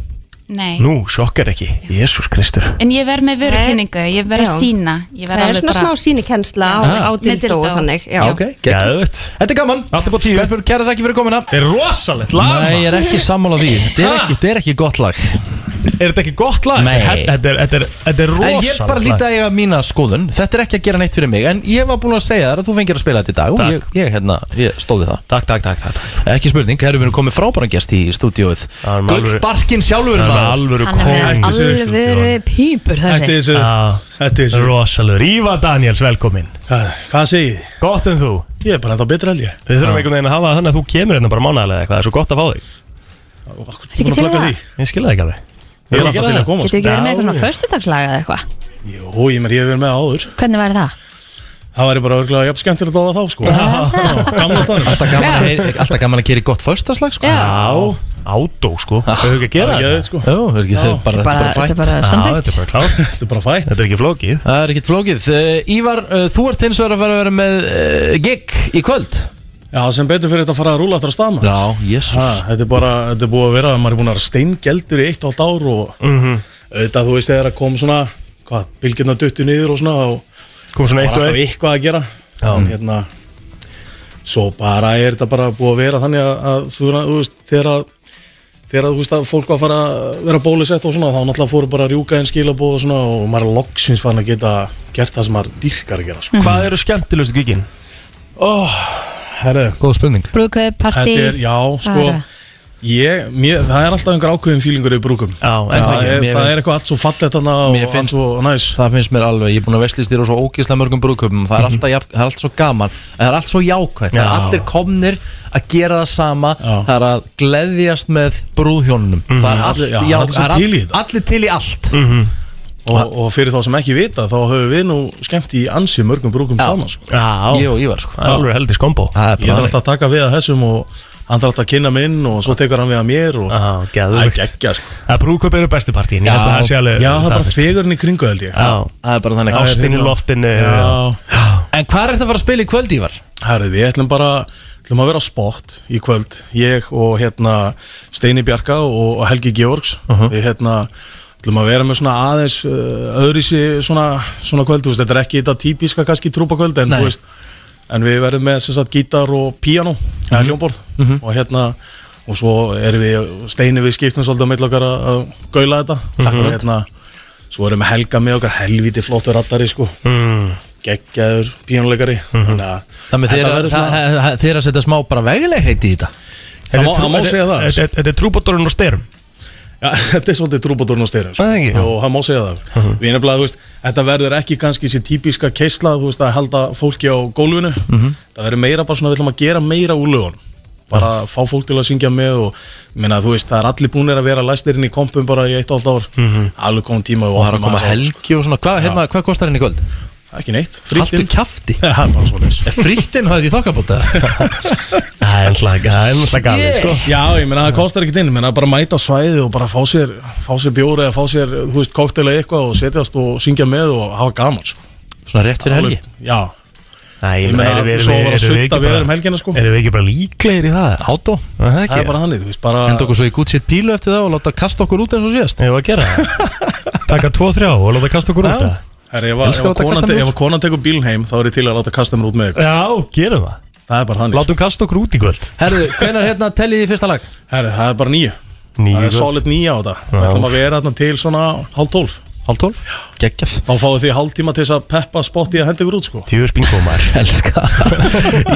H: Nei,
D: Nú, sjokkar ekki Jésús Kristur
H: en ég verð með vörukynningu Ég verð
I: Já.
H: að sína Ég verð
I: það er
H: alveg
I: svona smá
H: bara
I: sínikensla á,
B: Já.
I: á
H: Með
I: dildó og
H: dildó.
I: þannig já.
B: Ok, geggjað
D: Gæðvögt
B: Þetta er gaman,
D: Allt upp á tíu.
B: stelpur, kæra þakki fyrir komuna
D: Er rosalegt lag
B: Nei, ég
D: maður.
B: er ekki sammála því, þetta er
D: Ha?
B: ekki, þetta er ekki gott lag
D: Er þetta ekki gott lag?
B: Nei.
D: Þetta er- Þetta er- þetta er
B: En ég
D: rosalegt
B: bara líti að ég að mína skoðun Þetta er ekki að gera neitt fyrir mig En ég var búin að segja þér að þú fengir að spila þetta í dag Og
D: Takk.
B: ég, ég, hérna, ég stóði það
D: Takk, takk, takk, takk
B: Ekki spurning, það erum við komið frábæran gest í stúdíóið
D: Það er með alvöru-
B: Gullsparkin sjálfur
D: Það er
B: maður
D: alvöru
C: Hann er
D: kónguló.
C: með alvöru pípur
J: Hætti
C: þessi
J: þessu,
D: Já,
J: hætti þessu
D: Rosalur, Ívar sko Daniels, velkomin
J: Hvað, hvað segið þið?
D: Gott en þú
J: Ég er bara ennþá betra held ég
D: Við þurfum einhvern veginn að hafa það þannig að þú kemur hérna bara mánaðarlega eitthvað Það er svo gott að fá þig
J: Og af hverju
C: Ertu ekki
J: ertu búin að
C: til í
J: plugga
C: það?
J: því?
D: Ég skilja það ekki alveg
J: Ég er ekki að það að koma
C: Getur
J: sko.
C: ekki verið með eitthvað svona
D: Já.
C: föstudagslaga eða eitthvað
J: Jó, ég mér ég hef verið með áður
C: Hvernig væri það?
J: Það væri bara örgulega jafn skemmtilegt að það þá sko Gamla stannum
B: Alltaf gaman, að, heyri- alltaf gaman að gera í gott föstaslag sko.
C: Já.
D: Já, ádó sko Þau hefur ekki að
J: Það er
D: gera þetta
J: geðið sko
B: Jó, er ekki, þetta er bara,
C: Bara,
B: bara, bara
C: þetta er
B: fætt
C: bara
D: Já, þetta er
C: samþygt
D: bara klárt
J: Þetta er bara fætt
D: Þetta er ekki flókið
B: Það er ekkit flókið uh, Ívar, uh, þú ert hins vegar að fara að vera með uh, gig í kvöld
J: Já, sem betur fyrir þetta að fara að rúla aftur að stama
B: Já, jésús
J: Þetta er bara, þetta er búið að vera Maður er búin að vera steingeldur í eitt og allt ár Og
D: Mhm.
J: auðvitað þú veist þegar að kom svona Hvað, bylgjurnar duttu niður og svona Og
D: Kom svona
J: var
D: eitt og
J: alltaf
D: eitt
J: eitthvað að gera
D: Já.
J: En hérna Svo bara er þetta bara búið að vera þannig að, að svona, þú veist, þegar að þegar að, þú veist að fólk var að fara að vera bólusett og svona þá náttúrulega fóru bara að rjúka einn skilabóð og svona og maður er loksins fann að geta gert það sem maður dýrkar að gera sko.
D: Hvað eru skemmtilegustu gigin?
J: Herru,
B: Góð spurning
C: Brúðkaup, partí
J: Oh. þetta er, já, sko
C: Bara.
J: ég, mér, það er alltaf einhver ákveðin fílingur í brúkum
D: Já, en
J: það, er,
D: það
B: mér
J: það
B: finnst-
J: er eitthvað allt svo fallegt hana og
B: Mér
J: allt
B: finnst-
J: svo næs Mhm.
B: Það finnst mér alveg, ég er búin að veslist þér og svo ógeðslega mörgum brúðköpum það, er alltaf jafn- það er allt svo gaman, en það er allt svo jákvæmt Það er
D: Já.
B: allir komnir að gera það sama
J: Já. Mhm.
B: Það er að gleðjast með brúðhjónunum
D: Mhm.
B: Það er
J: Allir-
B: allt-
J: já,
B: já,
J: allir svo
B: það er
J: til í
B: all-
J: þetta.
B: allir til í allt
J: og, og fyrir þá sem ekki vita þá höfum við nú skemmt í ansi mörgum brúkum
B: Já.
J: saman sko.
D: Já,
B: Ég og Ívar sko
D: það er alveg heldis kombo
B: Það er
J: ég þarf
B: bara
J: alltaf að taka við að þessum og hann þarf alltaf að kynna minn og svo tekur hann við að mér og
D: Já,
J: það er
D: geðvögt
J: geggja sko.
D: Það brúköp eru bestu partíin Ég held að
B: Já.
D: það sé alveg
J: já, það er bara
D: staðfest.
J: fegurinn í kringu held ég
D: Já,
B: Það er bara þannig
J: Það er
D: ástin í
J: hérna-
D: loftinu
J: Já,
B: En hvað er þetta að fara að spila í kvöld Ívar?
J: herri, við ætlum bara ætlum að vera á sport í kvöld ég og hérna Steini Bjarka og, og Helgi Georgs
B: Uh-huh.
J: við hérna ætlum að vera með svona aðeins uh, öðrisi svona, svona kvöld, þú veist, þetta er ekki þetta típiska kannski trúpakvöld en
B: Nei.
J: þú veist en við verðum með sem sagt gítar og píano
D: Mhm.
J: eða hljómborð og hérna og svo erum við Steini við skiptum svolítið á milli okkar að að gaula þetta og hérna svo erum við Helga með okkar helviti flottur rattari sko
D: Mm. Mhm.
J: geggjaður píjónuleikari þannig að
B: Þannig
J: þetta
B: þeir,
J: verður
B: það,
J: svona-
B: það, það, þeir að setja smá bara vegileg heiti í þetta
J: það má-
D: Þetta er
J: það má
D: trú-
J: segja það
D: þetta- Þetta þetta er trúbóttorinn og styrum
J: Já, þetta er svolítið trúbótorn og styrir
D: Það er ekki. Mhm.
J: og það má segja það við erum bara, þú veist, þetta verður ekki kannski þessi típiska keisla, þú veist, að halda fólki á gólfinu
D: Mhm.
B: Mhm.
J: það verður meira bara svona, við ætlum að gera meira úr lögun bara fá fólk til að syngja með og minna, þú veist, það er allir búinir að vera læstirinn í kompum bara í eitt og allt ár alveg komum tíma
B: Mhm. Og það er að koma helgi og svona Hvað, hérna, hvað kostar henni í kvöld?
J: ekki neitt,
B: Haltu
J: frýttin
B: kjafti
J: það er bara svona
B: Frýttin hafði því þokkabóta
D: Það er náttúrulega gafið sko
J: Já, ég meina það kostar ekkert inn, ég meina bara mæta á svæðið og bara fá sér, fá sér bjóri eða fá sér, þú veist, koktel eða eitthvað og setjast og syngja með og hafa gaman, sko.
B: Svona rétt fyrir helgi
J: Já,
D: Æ,
J: Ég meina,
D: erum við-
J: svo
D: erum
J: var að
D: við- erum
J: sudda
D: við ekki
J: veður
D: bara-
J: um helgina, sko.
D: Erum við ekki bara líklegir í það?
B: Átó
D: Það er
J: það
D: ekki
J: er bara þannig, þú veist, bara...
B: Henda okkur svo í gútt sétt pílu eftir það og láta kasta okkur út eins og síðast
D: Ég var að gera það Taka tvo, þrjá og láta kasta okkur út
B: Já.
D: það
J: Herri, ef, að- ef,
D: Elskar
J: að
D: láta kasta
J: konan,
D: mér
J: te-
D: út?
J: ef að konan tekur bílinn heim þá er ég til að láta kasta mér út með ykkur
D: Já, gerum það
J: Það er bara þannig
D: Látum kasta okkur út í kvöld
B: Herðu, hvenar hérna tellið í fyrsta lag?
J: Herri, það er bara nýju Það
D: Níu í
J: er
D: kvöld
J: solid nýja á þetta
D: Já.
J: Við ætlum að vera þarna til svona hálf tólf
B: Hálf tólf? Geggjað
J: Þá fáið þið hálftíma til þess að peppa spotti að hendi ykkur út sko
D: Tjúr spingómar
B: Elska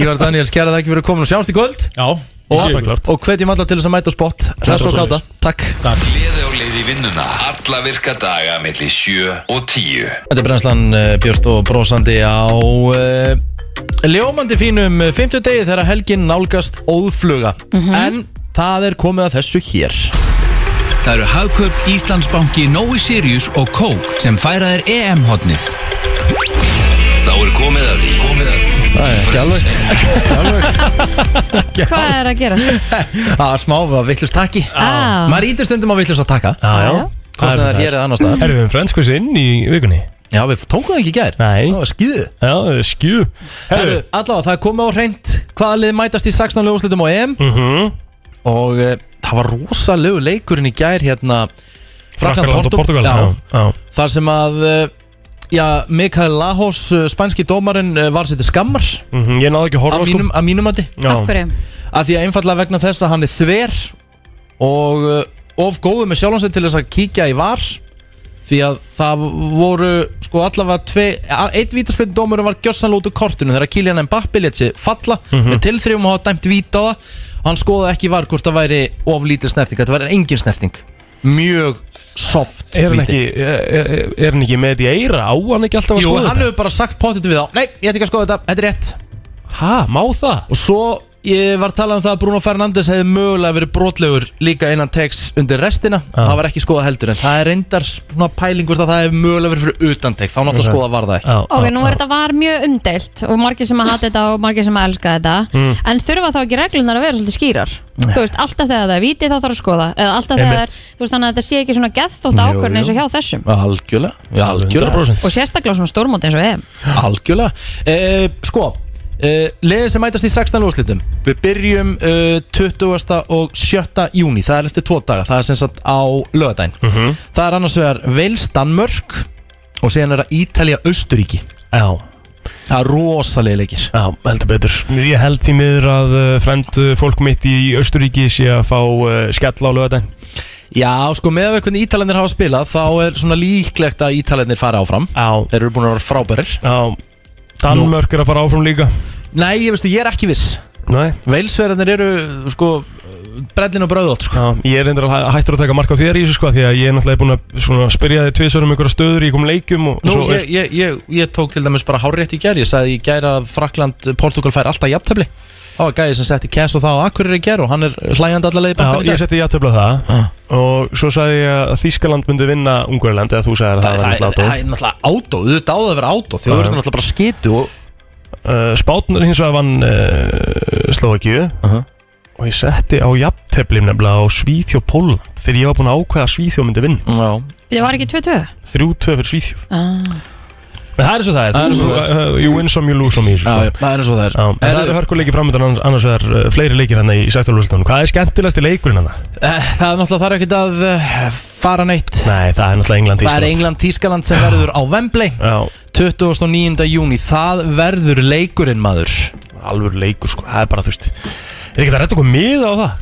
B: Ívar Daniel, skæra það ekki fyrir komin og sjáumst í kvöld
J: Já, ég sé
B: Og,
J: ykkur
B: og hvetjum alla til þess að mæta á spott Hress og káta, takk
A: Gleði og leiði vinnuna Alla virka daga milli 7 og 10
B: Þetta er brennslan uh, Björn og brósandi á uh, ljómandi fínum 50 degi þegar helgin nálgast óðfluga
K: Mhm.
B: En það er komið að þessu hér
K: Það eru Hagkaup, Íslandsbanki, Nói Sirius og Kók sem færa þér EM-hotnið.
A: Þá er komið að því Komið að því
B: Það er ekki alveg
C: Hvað er að gera?
B: Það er smá, var vittlust takki
K: Ah.
C: Á.
B: Maður ítir stundum á vittlust að taka
D: Já, já
B: Hvað sem það er hér eða annars staðar
D: Erum við um frendskvissi inn í vikunni?
B: Já, við tókum það ekki í gær
D: Nei.
B: Það var skýðu
D: Já, það er skjú
B: Herru,
D: Herru
B: allavega, það er komið á reynd hvaða lið mætast í 16 löguslutum á EM
D: Mhm.
B: og uh, það var rosalegu leikurinn í gær hérna Frakland
D: Frakkaland og Portugal
B: Já,
D: já
B: þar sem að uh, já, Mikael Lajos, uh, spænski dómarinn uh, var sétið skammar
D: Mhm, Ég náði ekki að
B: að
D: horfa sko
B: mínum, að mínum mati
D: Já.
C: Af hverju?
B: af því að einfallega vegna þess að hann er þver og uh, of góðu með sjálfansett til þess að kíkja í var því að það voru sko allavega tve, eitt vítaspinn dómur var gjössanlega út úr kortinu þegar Kylian Mbappi let sér falla
D: Mhm.
B: með tilþrifum og hafa dæmt víta á það og hann skoði ekki var hvort það væri of lítil snerting, þetta væri engin snerting mjög soft
D: Er hann
B: víti.
D: ekki, er, er- er hann ekki með því eira? Á hann ekki alltaf að
B: Jú,
D: skoða
B: hann
D: þetta?
B: hefur bara sagt pottit við þá Nei, ég ætti ekki að skoða þetta, þetta er rétt
D: Hæ, má það?
B: Og svo ég var talað um það að Bruno Fernandes hefði mögulega verið brotlegur líka innan tegs undir restina
D: Já.
B: Það var ekki skoða heldur en það er reyndar svona pæling hvort að það hefði mögulega verið fyrir utan teg Þá náttúrulega
D: Ok.
B: skoða var það ekki
D: Já,
C: Ok,
D: já,
C: nú
D: já.
C: er þetta var mjög umdeilt og margir sem að hata þetta og margir sem að elska
B: Mm.
C: þetta en þurfa þá ekki reglunar að vera svolítið skýrar þú veist, alltaf þegar það er viti þá þarf að skoða eða alltaf þegar það er, þú veist, þannig að þetta sé ekki svona geðþótt
B: Jú,
C: ákvörn eins og
B: jú.
C: hjá þessum
B: Algjörlega, já, algjörlega,
D: 100%
C: og sérstaklega svona stórmóti eins og EM
B: algjörlega. Eh, Sko, eh, liðið sem mætast í 16 lúslitum Við byrjum eh, 20. og 7. júni, það er eftir tvo daga, það er sem sagt á lögadæn
D: Mhm.
B: Það er annars vegar Vels, Danmörk og síðan er það Ítalja, Austuríki
D: Já,
B: Það er rosalega leikir
D: já, heldur betur Ég held því miður að uh, frend uh, fólk mitt í Östuríki sé að fá uh, skell á lögadaginn
B: Já, sko, með að hvernig Ítalendir hafa spilað þá er svona líklegt að Ítalendir fara áfram
D: Já,
B: Þeir eru búin að vera frábærir
D: já Danmörk er að fara áfram líka
B: Nei, ég veistu, ég er ekki viss
D: Nei,
B: Veilsverðarnir eru, sko, brellin og bröðótt, sko
D: já, ég er reyndar að hæ- hættur að taka mark á þér í þessu sko Því að ég er náttúrulega búin að svona, spyrja þig tvisvar um einhverja stöður í einhverjum leikum og,
B: Nú,
D: og
B: ég, ég, ég, ég tók til dæmis bara hárétt í gær Ég sagði í gær að Frakland, Portugal fær alltaf jafntefli Það var gæði sem setti Kess og það á Akureyri í gær og hann er hlægjandi allavega
D: Já,
B: í bankan í
D: ég
B: dag
D: setti játöfla það
B: Ah.
D: og svo sagði ég að Þískaland myndi vinna Ungverland eða þú sagði að
B: Það
D: það var
B: það- það
D: náttúrulega
B: er náttúrulega átó, þú dáðu að vera átó Þau
D: Já.
B: eru náttúrulega bara skitu og
D: uh, Spátnur hins vegar vann uh, Slovakíu
B: Aha.
D: og ég setti á jafnteflim nefnilega á Svíþjó Pólland þegar ég var búinn að ákveða að Svíþjó myndi vinna
B: Já,
C: Ég var ekki 2-2
D: 3-2 fyrir Svíþjó
C: ah.
D: en það er svo það er,
B: Það er
D: þú,
B: svo það
D: uh, you win some, you lose some í þessu
B: já,
D: sko.
B: já, það er eins og það er
D: Já, en það
B: Herðu-
D: eru hörkuleiki framöndan annars, annars vegar uh, fleiri leikir hann í 16. úrslitunum hvað er skemmtilegasti leikurinn hérna? hann?
B: Eh, Það er náttúrulega þarf ekkert að eh, fara neitt
D: Nei, það er náttúrulega England
B: Það er England-Tískaland sem verður á Wembley
D: Já,
B: 29. júni, það verður leikurinn maður
D: alvöru leikur sko, það er bara þú veist er ekki það rétt okkur miða á það?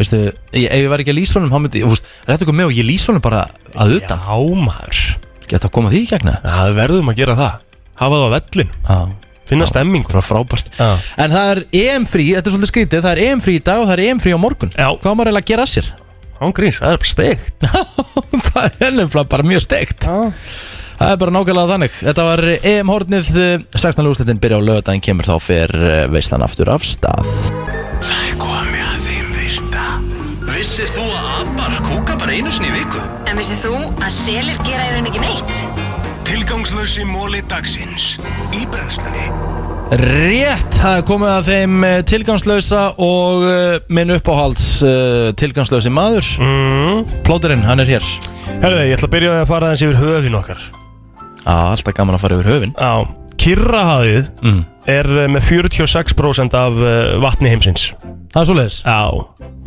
B: Veistu, ég, ef ég var ekki að lýsa honum þá myndi, ég, þú veist, rétt okkur með og ég lýsa honum bara að utan
D: Já maður,
B: Geta að koma því í gegna
D: það verðum að gera það hafa það á vellin,
B: Það
D: finna stemming
B: var frábært
D: Já.
B: En það er EM-frí, þetta er svolítið skrítið Það er EM-frí í dag og það er EM-frí á morgun
D: Já.
B: Hvað á maður eiginlega að gera af sér?
D: Ángríns, það er bara steikt
B: það er nefnilega bara mjög steikt
D: Já.
B: Það er bara nákvæmlega þannig Þetta var EM-hornið, eh, 16. úrslitin byrja á lögadaginn Kemur þá fyrir veislan aftur af stað
A: Það er komið að þeim virta Vissir þú að abar kúka bara einu sinni í viku?
L: En vissið þú að selir gera í rauninni ekki neitt?
A: Tilgangslösi móli dagsins Í brennslunni
B: Rétt, það er komið að þeim eh, tilgangslausa og eh, minn uppáhalds eh, tilgangslausi maður
D: Mhm.
B: Plóterinn, hann er hér Já,
D: Herði, ég ætla að byrja á því að fara aðeins yfir höfin okkar
B: alltaf gaman að fara yfir höfin
D: Já, Kyrrahafið
B: mm.
D: er eh, með 46% af eh, vatni heimsins
B: Það er svoleiðis
D: Já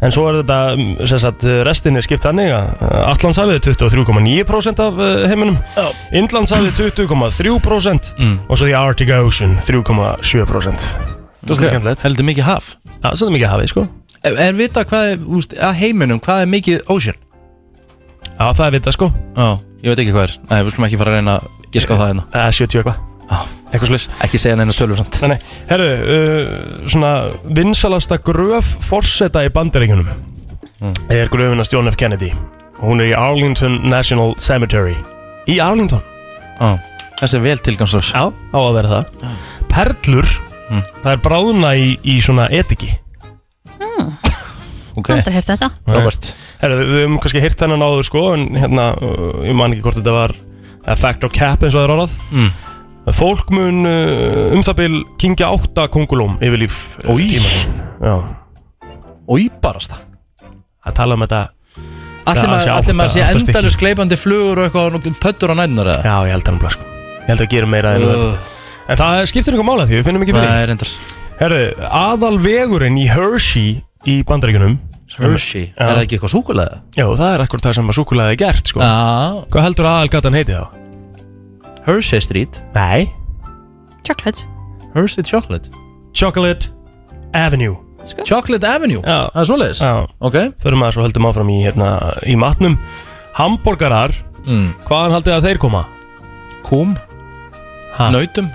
D: En svo er þetta, mm, sem sagt, restin er skipt þannig að Allandshafið er 23,9% af eh, heiminum Indlandshafið 20,3%
B: Mm.
D: og svo því Arctic Ocean 3,7% Það er
B: Ok,
D: svolítið skemmtilegt
B: Heldur mikið haf
D: Já, svolítið mikið hafið, sko
B: Er, er vita hvað er, úst, að heiminum, hvað er mikið ocean?
D: Já, það er vita, sko
B: Já, ég veit ekki hvað er Nei, við slum ekki fara að reyna að giska á það hérna
D: Það er 70 eitthvað Eitthvað slis
B: Ekki segja neina tölur samt
D: Nei, nei, herru, uh, svona vinsalasta gröf forseta í bandaríkjunum
B: Mm.
D: er gröfinast John F. Kennedy og hún er í Arlington National Cemetery Í Arlington?
B: Já, þessi er vel Mm. tilgangslös
D: Já, á að vera það Perlur,
B: Mm.
D: það er bráðuna í, í svona etiki
B: Ok,
C: Aldrei heyrt þetta.
B: Robert
D: Herru, við við höfum kannski heyrt þennan áður sko en hérna, uh, ég man ekki hvort þetta var a fact or cap eins og það er orðað
B: Mm.
D: Fólk mun uh, um það bil kingja átta kongulóm yfir líf uh,
B: Í.
D: Já
B: Og íbarast það
D: að tala um þetta
B: Allir
D: að
B: maður
D: sé
B: allir maður sé
D: átta- átta stykki.
B: endalus gleipandi flugur og eitthvað og pöttur á nænur eða?
D: Já, ég held að hann blá sko Ég held að gera meira en
B: Uh.
D: það En það skiptir einhver mála því, við finnum ekki fyrir
B: Nei, reyndar
D: Herru, aðal vegurinn í Hershey í bandaríkunum
B: Hershey? Er það ekki eitthvað súkulega?
D: Já, það er ekkur það sem að súkulega er gert sko
B: Já
D: Hvað heldur aðal gatan heiti þá?
B: Hershey Street
D: Nei
C: Chocolate
B: Hershey Chocolate
D: Chocolate Avenue
B: Chocolate Avenue?
D: Já
B: Það er svoleiðis?
D: Já
B: Ok
D: Förum að svo höldum áfram í, hérna, í matnum Hamborgarar,
B: mm.
D: hvaðan haldið að þeir koma?
B: Kúm
D: Ha?
B: Nautum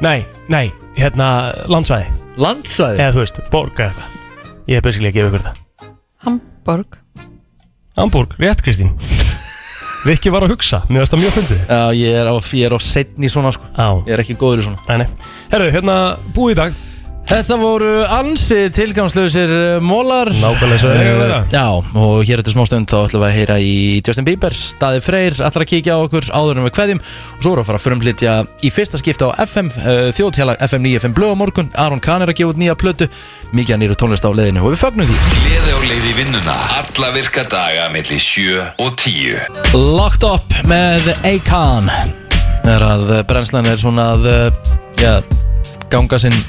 D: Nei, nei, hérna landsvæði
B: Landsvæði?
D: Eða þú veist, borg eða eitthvað Ég er basically að gefa ykkur það
C: Hamburg
D: Hamburg, rétt Kristín Vikki var að hugsa, mér varst það mjög fundið
B: Já, ég er á, ég er á setn í svona sko
D: Já,
B: Ég er ekki góður í svona
D: nei, nei Herru, hérna búið í dag
B: Þetta voru ansi tilgangslausir eh, mólar
D: Nákvæmlega svo er ekki að vera
B: Já, og hér eftir smá stund þá ætlum við að heyra í Justin Bieber, Daði Freyr, allar að kíkja á okkur áður en við kveðjum og svo erum við að fara að förumflytja í fyrsta skipta á FM uh, þjóðtjálag FM 95 blöð á morgun Aron Kahn er að gefa út nýja plötu mikið að nýru tónlist á leiðinu og við fögnum því
A: Gleði og leiði vinnuna Alla virka daga millir 7 og 10
B: Locked Up með Akon Þegar að eh, brennslan er svona að eh, já, ganga sinn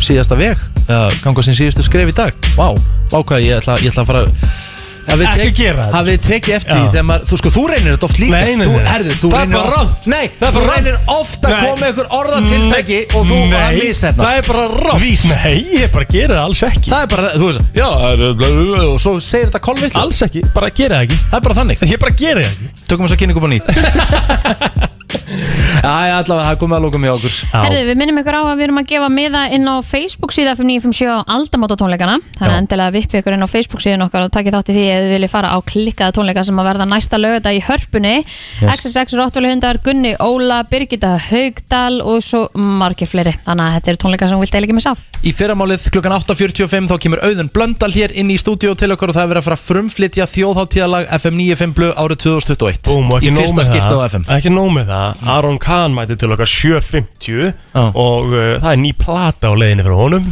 B: síðasta veg já, ganga sinn síðustu skref í dag Vá, vá hvað ég ætla, ég ætla að fara að
D: Ekki gera þetta.
B: Hafið tekið eftir
D: Já.
B: því þegar maður, þú sko, þú reynir þetta oft líka
D: Nei, nei,
B: þú,
D: nei.
B: herðu, þú
D: Það er
B: reynir
D: bara
B: oft-
D: rangt.
B: Nei,
D: Það er
B: þú
D: bara rangt.
B: reynir ofta að
D: Nei. Mm,
B: koma ykkur orðatiltæki og þú
D: Nei,
B: að mishetnast
D: Það er bara rátt
B: Víst.
D: Nei, ég bara gera það alls ekki
B: Það er bara, þú veist, já, og svo segir þetta kolvillist
D: Alls ekki, bara gera það ekki
B: Það er bara þannig
D: Ég bara gera það ekki
B: Tökum þess að kynningu upp á nýtt Æ, allavega, það er komið að lóka með okkur
C: Herðu, við minnum ykkur á að við erum að gefa miða inn á Facebook síða 5957 á aldamóta tónleikana þannig að endilega vippi ykkur inn á Facebook síðan okkar og takki þátt í því ef þið viljið fara á klikkaða tónleika sem að verða næsta lögða í hörpunni XSX Rottvæli hundar, Gunni Óla Birgitta Haugdal og svo margir fleiri, þannig að þetta eru tónleika sem þú vilt deila ekki með sáf
B: Í fyrramálið klukkan 8.45 þá kemur Auðun Blöndal hér inn í stúdíó til okkur og það er verið að fara að frumflytja þjóðháttíðalag FM 95 blu árið 2021
D: Búm, og ekki
B: Í
D: nóg
B: fyrsta
D: með
B: skipta á Mm.
D: það
B: FM
D: Ekki nóg með það Aron Kahn mæti til okkar 7.50 Og uh, það er ný plata á leiðinni frá honum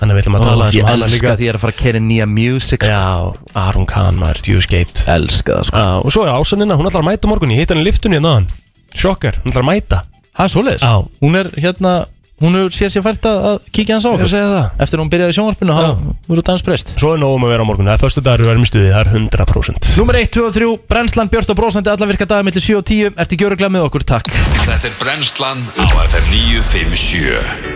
D: Þannig að við ætlum að tala aðeins
B: Ég
D: um hana
B: elska
D: líka.
B: því að ég er að fara að kera nýja music sko.
D: Já, Aron Kahn maður, djúskeitt
B: Elska það sko
D: uh, Og svo er Ásanina, hún ætlar að mæta á morgun Ég hitt hann í hérna liftunni en aðan Sjokkar, hún ætlar að mæta
B: Það er svoleiðis
D: Já.
B: Hún er hérna, hún er sér sér fært að, að kíkja hans á
D: Ég
B: okkur
D: segja það
B: Eftir að hún byrjaði í sjónvarpinu
D: Já.
B: hann voru dansprest
D: Svo er nógum að vera á morgun Það er förstu dagur við verðum í stuði, það er 100%
B: Númer 1, 2 og 3, Brennslan, Björn og Brósandi, alla virka dagar millir 7 og 10 Ertu gjöruglega með okkur, takk
A: Þetta er brennslan á FM 957